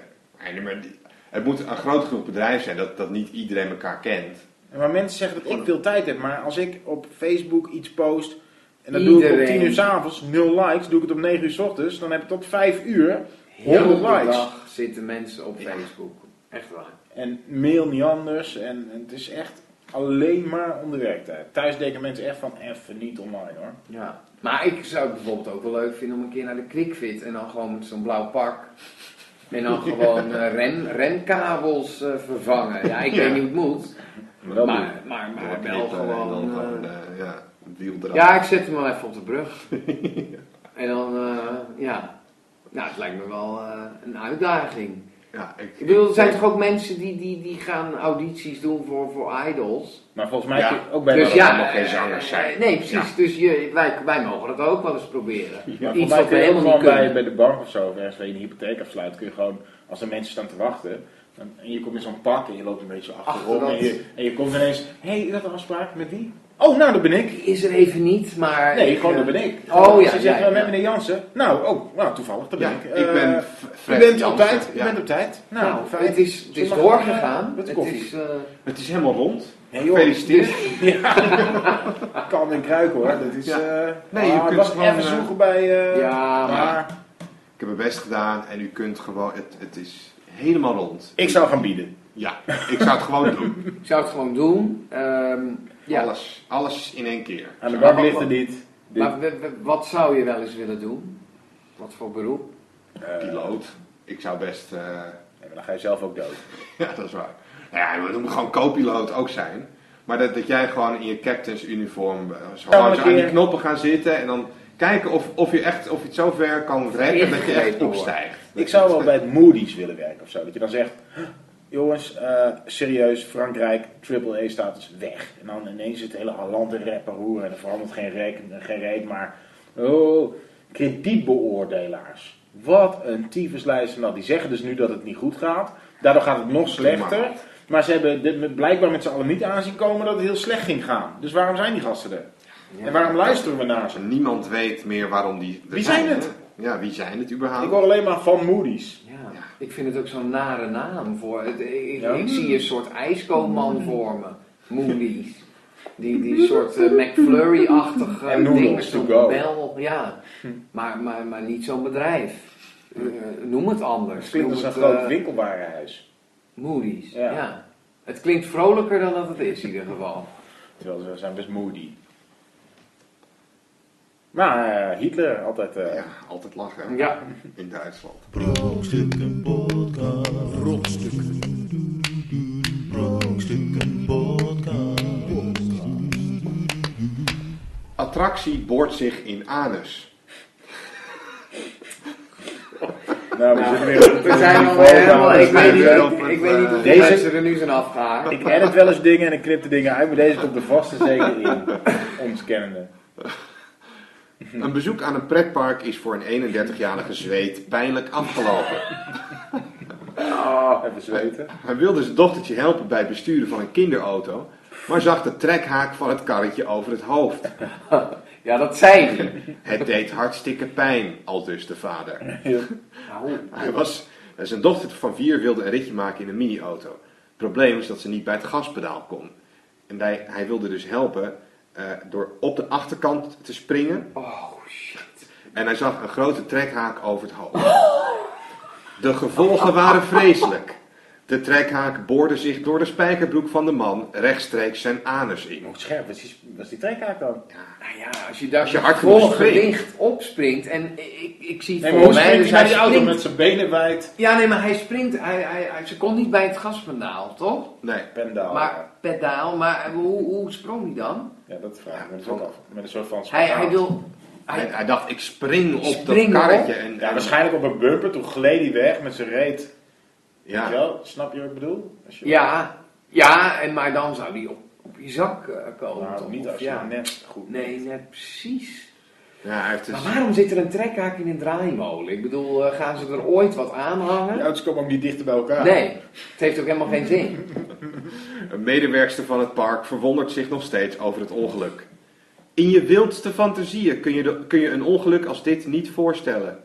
[SPEAKER 2] Nee, maar die- het moet een groot genoeg bedrijf zijn dat, dat niet iedereen elkaar kent.
[SPEAKER 4] En Maar mensen zeggen dat ik veel tijd heb, maar als ik op Facebook iets post en dat doe ik om
[SPEAKER 3] Iedereen.
[SPEAKER 4] 10 uur s'avonds, 0 likes, doe ik het om 9 uur s ochtends, dan heb ik tot 5 uur
[SPEAKER 3] Heel
[SPEAKER 4] 100
[SPEAKER 3] de
[SPEAKER 4] likes.
[SPEAKER 3] dag zitten mensen op Facebook. Echt waar.
[SPEAKER 4] En mail niet anders. En, en het is echt alleen maar om de werktijd. Thuis denken mensen echt van even niet online hoor.
[SPEAKER 3] Ja. Maar ik zou het bijvoorbeeld ook wel leuk vinden om een keer naar de QuickFit en dan gewoon met zo'n blauw pak. En dan gewoon eh, ren, renkabels eh, vervangen. Ja, ik weet niet hoe het moet.
[SPEAKER 4] Wel
[SPEAKER 3] maar, maar, maar wel
[SPEAKER 2] Doorknippen en
[SPEAKER 3] gewoon.
[SPEAKER 2] dan
[SPEAKER 3] eh,
[SPEAKER 2] gewoon, eh, ja, een wiel eraf.
[SPEAKER 3] ja, ik zet hem wel even op de brug. En dan, eh, ja. Nou, het lijkt me wel eh, een uitdaging.
[SPEAKER 2] Ja, ik,
[SPEAKER 3] Ik bedoel, er zijn toch ook mensen die, die, die gaan audities doen voor, voor idols.
[SPEAKER 4] Maar volgens mij
[SPEAKER 2] Ja.
[SPEAKER 4] kun je ook bij
[SPEAKER 2] Dus
[SPEAKER 4] de-
[SPEAKER 2] dat allemaal geen zangers
[SPEAKER 3] eh,
[SPEAKER 2] zijn.
[SPEAKER 3] Nee, precies. Dus je, wij, wij mogen dat ook wel eens proberen.
[SPEAKER 4] Maar volgens
[SPEAKER 3] Iets
[SPEAKER 4] mij
[SPEAKER 3] wat we
[SPEAKER 4] kun je ook
[SPEAKER 3] helemaal niet
[SPEAKER 4] gewoon bij,
[SPEAKER 3] kunnen.
[SPEAKER 4] bij de bank of zo, of ergens waar je een hypotheek afsluit, kun je gewoon, als er mensen staan te wachten, dan, en je komt in zo'n pak en je loopt een beetje achterom
[SPEAKER 3] Achterom.
[SPEAKER 4] en je, en je komt ineens, hé, hey, is dat een afspraak met die? Oh, nou, dat ben ik.
[SPEAKER 3] Die is er even niet, maar...
[SPEAKER 4] Nee,
[SPEAKER 3] ik,
[SPEAKER 4] gewoon
[SPEAKER 3] eh,
[SPEAKER 4] dat ben ik.
[SPEAKER 3] Oh,
[SPEAKER 4] Als
[SPEAKER 3] ja,
[SPEAKER 4] Ze zegt,
[SPEAKER 3] ja,
[SPEAKER 4] "Eh, met
[SPEAKER 3] ja.
[SPEAKER 4] meneer Jansen. Nou, oh, nou, toevallig, dat ben
[SPEAKER 2] Ja,
[SPEAKER 4] ik.
[SPEAKER 2] ik
[SPEAKER 4] Eh,
[SPEAKER 2] ben F-
[SPEAKER 4] u
[SPEAKER 2] Fred
[SPEAKER 4] bent op
[SPEAKER 2] Jansen,
[SPEAKER 4] tijd, u
[SPEAKER 2] ja.
[SPEAKER 4] bent op tijd. Nou,
[SPEAKER 3] Nou,
[SPEAKER 4] fijn.
[SPEAKER 3] het is, het is
[SPEAKER 4] Zullen we maar
[SPEAKER 3] doorgegaan.
[SPEAKER 4] Met de
[SPEAKER 3] het
[SPEAKER 4] koffie.
[SPEAKER 3] is, eh,
[SPEAKER 2] Het is helemaal rond.
[SPEAKER 4] Nee, joh,
[SPEAKER 2] Gefeliciteerd.
[SPEAKER 4] ik kan en kruik hoor. Dat is,
[SPEAKER 2] Ja.
[SPEAKER 4] eh,
[SPEAKER 2] Nee, je
[SPEAKER 4] ah,
[SPEAKER 2] kunt
[SPEAKER 4] het was
[SPEAKER 2] gewoon,
[SPEAKER 4] even
[SPEAKER 2] eh,
[SPEAKER 4] zoeken bij... eh,
[SPEAKER 3] ja, maar...
[SPEAKER 4] maar
[SPEAKER 2] Ik heb mijn best gedaan en u kunt gewoon... Het, het is helemaal rond.
[SPEAKER 4] ik zou gaan bieden.
[SPEAKER 2] Ja, ik zou het gewoon doen.
[SPEAKER 3] Ik zou het gewoon doen. Ehm, ja.
[SPEAKER 2] Alles, alles in één keer.
[SPEAKER 4] Aan de
[SPEAKER 2] Zo.
[SPEAKER 4] bank ligt er niet. Dit-
[SPEAKER 3] Maar we- we- wat zou je wel eens willen doen? Wat voor beroep?
[SPEAKER 4] eh,
[SPEAKER 2] Piloot. Ik zou best... eh,
[SPEAKER 4] nee, maar dan ga je zelf ook dood.
[SPEAKER 2] ja, dat is waar. Nou ja, we doen gewoon co-piloot ook zijn. Maar dat, dat jij gewoon in je captain's uniform... eh, zo
[SPEAKER 4] Ja, maar
[SPEAKER 2] hard
[SPEAKER 4] een
[SPEAKER 2] aan die
[SPEAKER 4] keer-
[SPEAKER 2] knoppen gaan zitten en dan... Kijken of, of, je echt, of je het zo ver kan rekken dat je echt
[SPEAKER 3] Ingegrepen wordt.
[SPEAKER 2] opstijgt.
[SPEAKER 4] Ik zou wel bij het Moody's willen werken of zo. Dat je dan zegt, "Huh, jongens, eh, serieus, Frankrijk, triple A-status weg. En dan ineens het hele land te rappen roeren en er verandert geen reet, geen reet maar... Oh, kredietbeoordelaars. Wat een tyfuslijst van dat. Die zeggen dus nu dat het niet goed gaat. Daardoor gaat het nog slechter. Maar ze hebben dit met- blijkbaar met z'n allen niet aanzien komen dat het heel slecht ging gaan. Dus waarom zijn die gasten er? En waarom luisteren we naar ze?
[SPEAKER 2] Niemand weet meer waarom die... er
[SPEAKER 4] Wie zijn het?
[SPEAKER 2] Ja, wie zijn het überhaupt?
[SPEAKER 4] Ik hoor alleen maar van Moody's.
[SPEAKER 3] Ja,
[SPEAKER 2] Ja.
[SPEAKER 3] ik vind het ook zo'n nare naam voor. het- ik,
[SPEAKER 4] Ja.
[SPEAKER 3] ik zie een soort ijskoopman voor me. Moody's. Die, die soort eh, McFlurry-achtig eh,
[SPEAKER 4] En noedels
[SPEAKER 3] ding met
[SPEAKER 4] to
[SPEAKER 3] zo'n
[SPEAKER 4] go. Hm.
[SPEAKER 3] bel. Ja, maar, maar, maar niet zo'n bedrijf. Eh, noem het anders.
[SPEAKER 4] Het klinkt als
[SPEAKER 3] Noem
[SPEAKER 4] een
[SPEAKER 3] het,
[SPEAKER 4] groot
[SPEAKER 3] eh,
[SPEAKER 4] winkelwarenhuis.
[SPEAKER 3] Moody's,
[SPEAKER 4] Ja.
[SPEAKER 3] ja. Het klinkt vrolijker dan dat het is in ieder geval.
[SPEAKER 4] Terwijl ze zijn best moody. Maar eh, Hitler altijd. eh,
[SPEAKER 2] Ja, altijd lachen
[SPEAKER 3] Ja,
[SPEAKER 2] in Duitsland.
[SPEAKER 1] Brokstukken podcast. Brokstukken. Brokstukken podcast.
[SPEAKER 2] Attractie boort zich in anus.
[SPEAKER 4] Nou, we zitten weer op
[SPEAKER 3] we zijn al
[SPEAKER 4] niveau,
[SPEAKER 3] helemaal...
[SPEAKER 4] dames
[SPEAKER 3] Ik
[SPEAKER 4] en
[SPEAKER 3] weet niet,
[SPEAKER 4] heren.
[SPEAKER 2] op
[SPEAKER 3] ik,
[SPEAKER 2] het,
[SPEAKER 3] ik weet niet of
[SPEAKER 2] eh,
[SPEAKER 3] de
[SPEAKER 4] deze-
[SPEAKER 3] mensen er nu zijn afgehaakt.
[SPEAKER 4] Ik edit wel eens dingen en ik knip de dingen uit, maar deze komt er vast en zeker in. Ons kennende.
[SPEAKER 2] Een bezoek aan een pretpark is voor een 31-jarige zweet pijnlijk afgelopen.
[SPEAKER 4] Even zweten.
[SPEAKER 2] Hij wilde zijn dochtertje helpen bij het besturen van een kinderauto, maar zag de trekhaak van het karretje over het hoofd.
[SPEAKER 3] Ja, dat zei hij.
[SPEAKER 2] Het deed hartstikke pijn, aldus de vader.
[SPEAKER 3] Nou,
[SPEAKER 2] Hij was, en zijn dochter van vier wilde een ritje maken in een mini-auto. Het probleem is dat ze niet bij het gaspedaal kon. En hij, hij wilde dus helpen eh, door op de achterkant te springen.
[SPEAKER 3] oh shit.
[SPEAKER 2] En hij zag een grote trekhaak over het hoofd. De gevolgen waren vreselijk. De trekhaak boorde zich door de spijkerbroek van de man rechtstreeks zijn anus in.
[SPEAKER 4] Hoe scherp was die, was die trekhaak dan?
[SPEAKER 3] Nou ja, als je daar
[SPEAKER 2] Als je
[SPEAKER 3] met
[SPEAKER 2] hard genoeg
[SPEAKER 3] vol
[SPEAKER 2] springt.
[SPEAKER 3] gericht opspringt en ik, ik zie het
[SPEAKER 4] Nee,
[SPEAKER 3] voor
[SPEAKER 4] maar hoe
[SPEAKER 3] mij,
[SPEAKER 4] springt
[SPEAKER 3] dus
[SPEAKER 4] hij
[SPEAKER 3] hij
[SPEAKER 4] naar die auto
[SPEAKER 3] springt.
[SPEAKER 4] met zijn benen wijd?
[SPEAKER 3] Ja, nee, maar hij springt. Hij, hij, hij- ze kon niet bij het gaspedaal, toch?
[SPEAKER 2] Nee,
[SPEAKER 4] Pendaal.
[SPEAKER 3] Maar pedaal, maar hoe, hoe sprong hij dan?
[SPEAKER 4] Ja, dat vraag ik me dus ook af. Met een soort van
[SPEAKER 3] Hij,
[SPEAKER 4] spandaal.
[SPEAKER 3] hij wil.
[SPEAKER 2] hij,
[SPEAKER 3] Hij,
[SPEAKER 2] hij dacht ik spring op
[SPEAKER 3] Spring
[SPEAKER 2] dat
[SPEAKER 3] erop.
[SPEAKER 2] karretje. En,
[SPEAKER 4] Ja, waarschijnlijk op een bumper, toen gleed hij weg met zijn reet. Weet je
[SPEAKER 2] Ja,
[SPEAKER 4] wel? Snap je wat ik bedoel? Als je-
[SPEAKER 3] ja, ja en, maar dan zou hij op, op je zak eh, komen.
[SPEAKER 4] Nou,
[SPEAKER 3] toch?
[SPEAKER 4] niet
[SPEAKER 3] Of
[SPEAKER 4] als je
[SPEAKER 3] ja.
[SPEAKER 4] net goed
[SPEAKER 3] Nee, net precies.
[SPEAKER 2] ja, hij heeft dus...
[SPEAKER 3] Maar waarom zit er een trekhaak in een draaimolen? Ik bedoel, eh, gaan ze er ooit wat aan hangen?
[SPEAKER 4] Die auto's komen ook niet dichter bij elkaar.
[SPEAKER 3] Nee, het heeft ook helemaal geen zin.
[SPEAKER 2] Een medewerkster van het park verwondert zich nog steeds over het ongeluk. In je wildste fantasieën kun je, de- kun je een ongeluk als dit niet voorstellen.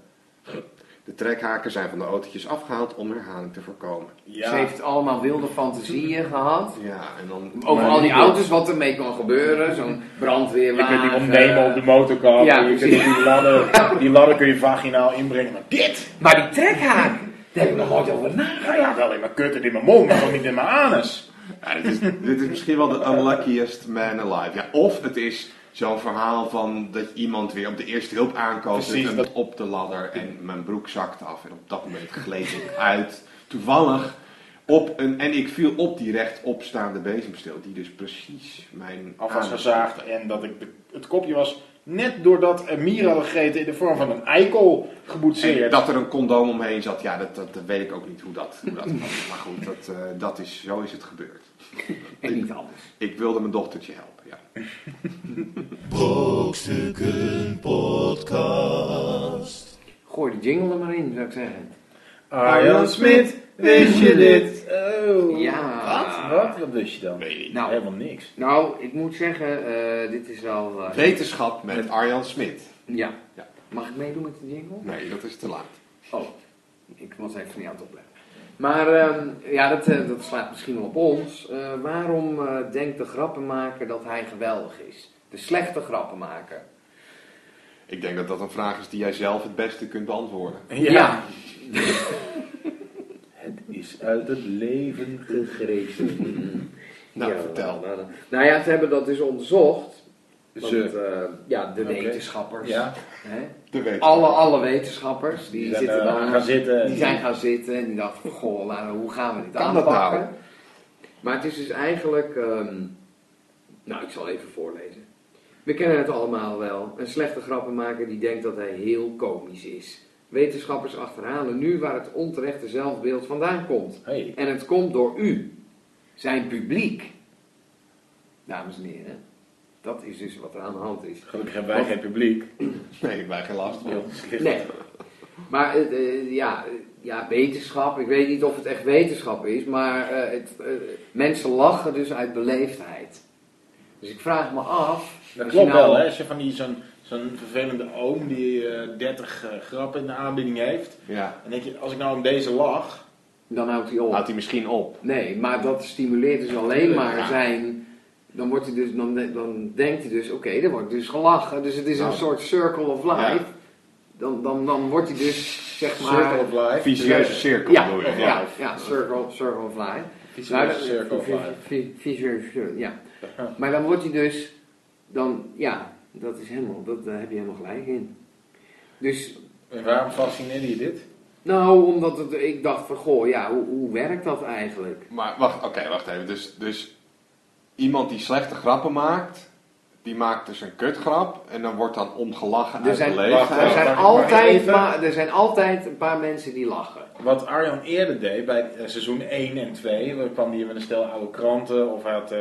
[SPEAKER 2] De trekhaken zijn van de autootjes afgehaald om herhaling te voorkomen.
[SPEAKER 4] Ja.
[SPEAKER 3] Ze heeft allemaal wilde fantasieën gehad.
[SPEAKER 2] Ja, en dan...
[SPEAKER 3] Over
[SPEAKER 4] Maar
[SPEAKER 3] al die
[SPEAKER 4] niet
[SPEAKER 3] auto's, wat ermee kan gebeuren. Zo'n
[SPEAKER 4] Je
[SPEAKER 3] brandweerwagen.
[SPEAKER 4] kunt die ontnemen op de motorkap.
[SPEAKER 3] eh, Ja,
[SPEAKER 4] je kunt
[SPEAKER 3] precies.
[SPEAKER 4] die ladder, die ladder kun je vaginaal inbrengen. Maar dit!
[SPEAKER 3] Eh, Maar die trekhaak, daar heb ik nog nooit over nagedacht.
[SPEAKER 4] Nou ja, wel in mijn kut en in mijn mond, maar nog niet in mijn anus.
[SPEAKER 2] Ja, dit, is, dit is misschien wel de unluckiest man alive. Ja, of het is zo'n verhaal van dat iemand weer op de eerste hulp aankoopt.
[SPEAKER 4] Precies,
[SPEAKER 2] en
[SPEAKER 4] dat-
[SPEAKER 2] op de ladder en mijn broek zakt af. En op dat moment gleed ik uit. Toevallig. Op een, en ik viel op die rechtopstaande bezemsteel. Die dus precies mijn...
[SPEAKER 4] Af was
[SPEAKER 2] aan-
[SPEAKER 4] gezaagd en dat ik de- het kopje was net doordat een mier hadden gegeten in de vorm van een eikel
[SPEAKER 2] En
[SPEAKER 4] geboetseerd.
[SPEAKER 2] dat er een condoom omheen zat. Ja, dat, dat, dat weet ik ook niet hoe dat, hoe dat kwam. Maar goed, dat, eh, dat is, zo is het gebeurd.
[SPEAKER 3] En niet anders.
[SPEAKER 2] Ik wilde mijn dochtertje helpen, ja.
[SPEAKER 1] Brokstukken podcast.
[SPEAKER 3] Gooi de jingle er maar in, zou ik zeggen.
[SPEAKER 4] Arjan Smit, wist je dit? Oh.
[SPEAKER 3] Ja.
[SPEAKER 4] Wat? Wat? Wat wist je dan?
[SPEAKER 2] Weet ik.
[SPEAKER 3] Nou,
[SPEAKER 4] Helemaal niks.
[SPEAKER 3] nou, ik moet zeggen, eh, dit is wel... eh,
[SPEAKER 2] Wetenschap met Arjan Smit.
[SPEAKER 3] ja.
[SPEAKER 2] Ja.
[SPEAKER 3] Mag ik meedoen met de jingle?
[SPEAKER 2] Nee, dat is te laat.
[SPEAKER 3] Oh, ik was even niet aan het opletten. Maar ehm, ja, dat, eh, dat slaat misschien wel op ons. Eh, waarom eh, denkt de grappenmaker dat hij geweldig is? De slechte grappenmaker.
[SPEAKER 2] Ik denk dat dat een vraag is die jij zelf het beste kunt beantwoorden.
[SPEAKER 4] Het is uit het leven gegrepen.
[SPEAKER 2] Nou,
[SPEAKER 3] Ja,
[SPEAKER 2] vertel.
[SPEAKER 3] Nou, nou, nou ja, ze hebben dat dus onderzocht. Want,
[SPEAKER 4] Ze.
[SPEAKER 3] eh, ja, de
[SPEAKER 4] Oké.
[SPEAKER 3] wetenschappers.
[SPEAKER 4] Ja.
[SPEAKER 3] Hè?
[SPEAKER 2] De wetenschap.
[SPEAKER 3] Alle, alle wetenschappers, die,
[SPEAKER 4] Die zijn
[SPEAKER 3] zitten
[SPEAKER 4] eh,
[SPEAKER 3] dan...
[SPEAKER 4] gaan zitten.
[SPEAKER 3] Die zijn gaan zitten en die dachten, goh, nou, hoe gaan we dit
[SPEAKER 2] Kan dat
[SPEAKER 3] aanpakken?
[SPEAKER 2] nou?
[SPEAKER 3] Maar het is dus eigenlijk, ehm, nou ik zal even voorlezen. We kennen het allemaal wel, een slechte grappenmaker die denkt dat hij heel komisch is. Wetenschappers achterhalen nu waar het onterechte zelfbeeld vandaan komt.
[SPEAKER 4] Hey.
[SPEAKER 3] En het komt door u, zijn publiek. Dames en heren, dat is dus wat er aan de hand is.
[SPEAKER 4] Gelukkig hebben wij geen publiek.
[SPEAKER 2] Nee, wij geen last van.
[SPEAKER 3] Nee. Maar eh, eh, ja, eh, ja, wetenschap, ik weet niet of het echt wetenschap is, maar eh, het, eh, mensen lachen dus uit beleefdheid. Dus ik vraag me af.
[SPEAKER 4] Dat
[SPEAKER 3] als
[SPEAKER 4] klopt
[SPEAKER 3] je nou-
[SPEAKER 4] wel, hè? Als je van die zo'n zo'n vervelende oom die eh 30 eh, grappen in de aanbieding heeft.
[SPEAKER 2] Ja.
[SPEAKER 4] En denk je, als ik nou om deze lach.
[SPEAKER 3] Dan houdt hij op.
[SPEAKER 2] Houdt hij misschien op.
[SPEAKER 3] Nee, maar dat stimuleert dus alleen maar
[SPEAKER 2] Ja.
[SPEAKER 3] zijn. Dan, wordt hij dus, dan, de- dan denkt hij dus, oké, dan wordt dus gelachen. Dus het is
[SPEAKER 2] Nou.
[SPEAKER 3] een soort circle of
[SPEAKER 2] Ja.
[SPEAKER 3] life. Dan, dan, dan wordt hij dus, zeg maar.
[SPEAKER 4] Circle of life.
[SPEAKER 2] Vicieuze cirkel
[SPEAKER 3] ja,
[SPEAKER 2] bedoel je.
[SPEAKER 3] ja, ja, circle, circle of life.
[SPEAKER 4] Vicieuze
[SPEAKER 3] Nou, dat-
[SPEAKER 4] circle of
[SPEAKER 3] vi-
[SPEAKER 4] life.
[SPEAKER 3] vi- visueel cirkel, ja. Maar dan wordt hij dus, dan, ja, dat is helemaal, dat, daar heb je helemaal gelijk in. Dus,
[SPEAKER 4] En waarom fascineerde je dit?
[SPEAKER 3] nou, omdat het, ik dacht van, goh, ja, hoe, hoe werkt dat eigenlijk?
[SPEAKER 2] Maar wacht, oké, wacht even. Dus, dus iemand die slechte grappen maakt, die maakt dus een kutgrap en dan wordt dan omgelachen
[SPEAKER 3] Er
[SPEAKER 2] uit
[SPEAKER 3] zijn,
[SPEAKER 2] beleefdheid.
[SPEAKER 4] wacht,
[SPEAKER 3] er, zijn
[SPEAKER 4] mag ik maar
[SPEAKER 3] altijd,
[SPEAKER 4] even?
[SPEAKER 3] maar, er zijn altijd een paar mensen die lachen.
[SPEAKER 4] Wat Arjan eerder deed bij eh, seizoen 1 en 2. Dan kwam hij met een stel oude kranten. Of hij had eh,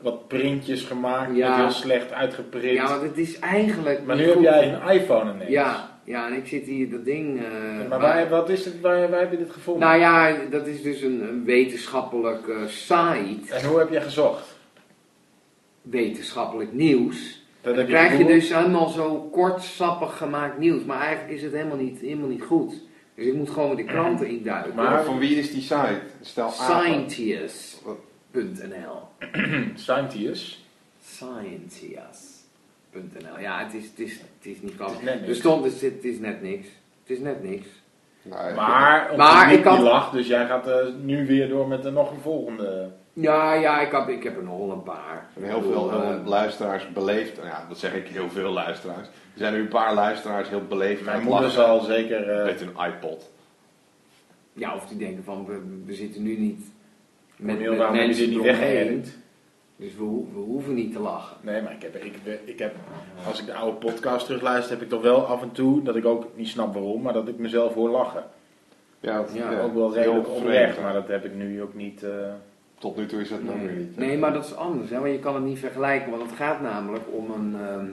[SPEAKER 4] wat printjes gemaakt,
[SPEAKER 3] Ja.
[SPEAKER 4] met heel slecht uitgeprint.
[SPEAKER 3] Ja, want het is eigenlijk.
[SPEAKER 4] maar
[SPEAKER 3] niet
[SPEAKER 4] nu heb
[SPEAKER 3] goed.
[SPEAKER 4] jij een iPhone ineens.
[SPEAKER 3] Ja, ja, en ik zit hier dat ding. eh,
[SPEAKER 4] Maar waar, wat is het, waar, waar heb je dit gevonden?
[SPEAKER 3] Nou ja, dat is dus een, een wetenschappelijk eh, site.
[SPEAKER 4] En hoe heb je gezocht?
[SPEAKER 3] Wetenschappelijk nieuws.
[SPEAKER 4] Dat
[SPEAKER 3] Dan
[SPEAKER 4] heb
[SPEAKER 3] krijg je
[SPEAKER 4] gegoogeld?
[SPEAKER 3] dus helemaal zo kort, sappig gemaakt nieuws. Maar eigenlijk is het helemaal niet, helemaal niet goed. Dus ik moet gewoon met de kranten induiken.
[SPEAKER 4] Maar-
[SPEAKER 2] Maar van wie is die site? Stel aan.
[SPEAKER 3] Scientius.nl
[SPEAKER 4] Scientius.
[SPEAKER 3] Scientias.nl Ja, het is, het is, het is niet
[SPEAKER 4] Het is net
[SPEAKER 3] grappig.
[SPEAKER 4] niks.
[SPEAKER 3] Er stond, het is, het is net niks. Het is net niks.
[SPEAKER 2] Nee.
[SPEAKER 4] Maar,
[SPEAKER 3] Maar
[SPEAKER 4] maar ik
[SPEAKER 3] ik had-
[SPEAKER 4] die lag, dus jij gaat eh, nu weer door met een nog een volgende.
[SPEAKER 3] Ja, ja, ik, heb ik heb er nog wel een paar.
[SPEAKER 2] Er zijn heel
[SPEAKER 3] Ik bedoel,
[SPEAKER 2] veel eh,
[SPEAKER 3] eh,
[SPEAKER 2] luisteraars beleefd. Nou Ja, dat zeg ik heel veel luisteraars. Er zijn nu een paar luisteraars heel beleefd. aan
[SPEAKER 4] Mijn
[SPEAKER 2] het
[SPEAKER 4] moeder
[SPEAKER 2] lachen
[SPEAKER 4] zal zeker... eh,
[SPEAKER 2] Met een iPod.
[SPEAKER 3] ja, of die denken van, we, we zitten nu niet met,
[SPEAKER 4] Cornel,
[SPEAKER 3] met
[SPEAKER 4] waarom hebben
[SPEAKER 3] mensen
[SPEAKER 4] jullie
[SPEAKER 3] die
[SPEAKER 4] die weggeëdit?
[SPEAKER 3] Dus we, ho- we hoeven niet te lachen.
[SPEAKER 4] Nee, maar ik heb, ik, ik heb, als ik de oude podcast terugluister, heb ik toch wel af en toe dat ik ook niet snap waarom, maar dat ik mezelf hoor lachen.
[SPEAKER 2] Ja, dat-
[SPEAKER 3] Ja,
[SPEAKER 4] ook wel
[SPEAKER 2] heel
[SPEAKER 4] redelijk
[SPEAKER 2] vreemd,
[SPEAKER 4] oprecht,
[SPEAKER 2] hè.
[SPEAKER 4] maar dat heb ik nu ook niet. eh,
[SPEAKER 2] Tot nu toe is dat nog weer niet. eh, hè?
[SPEAKER 3] Nee, maar dat is anders, hè? want je kan het niet vergelijken. Want het gaat namelijk om een, ehm,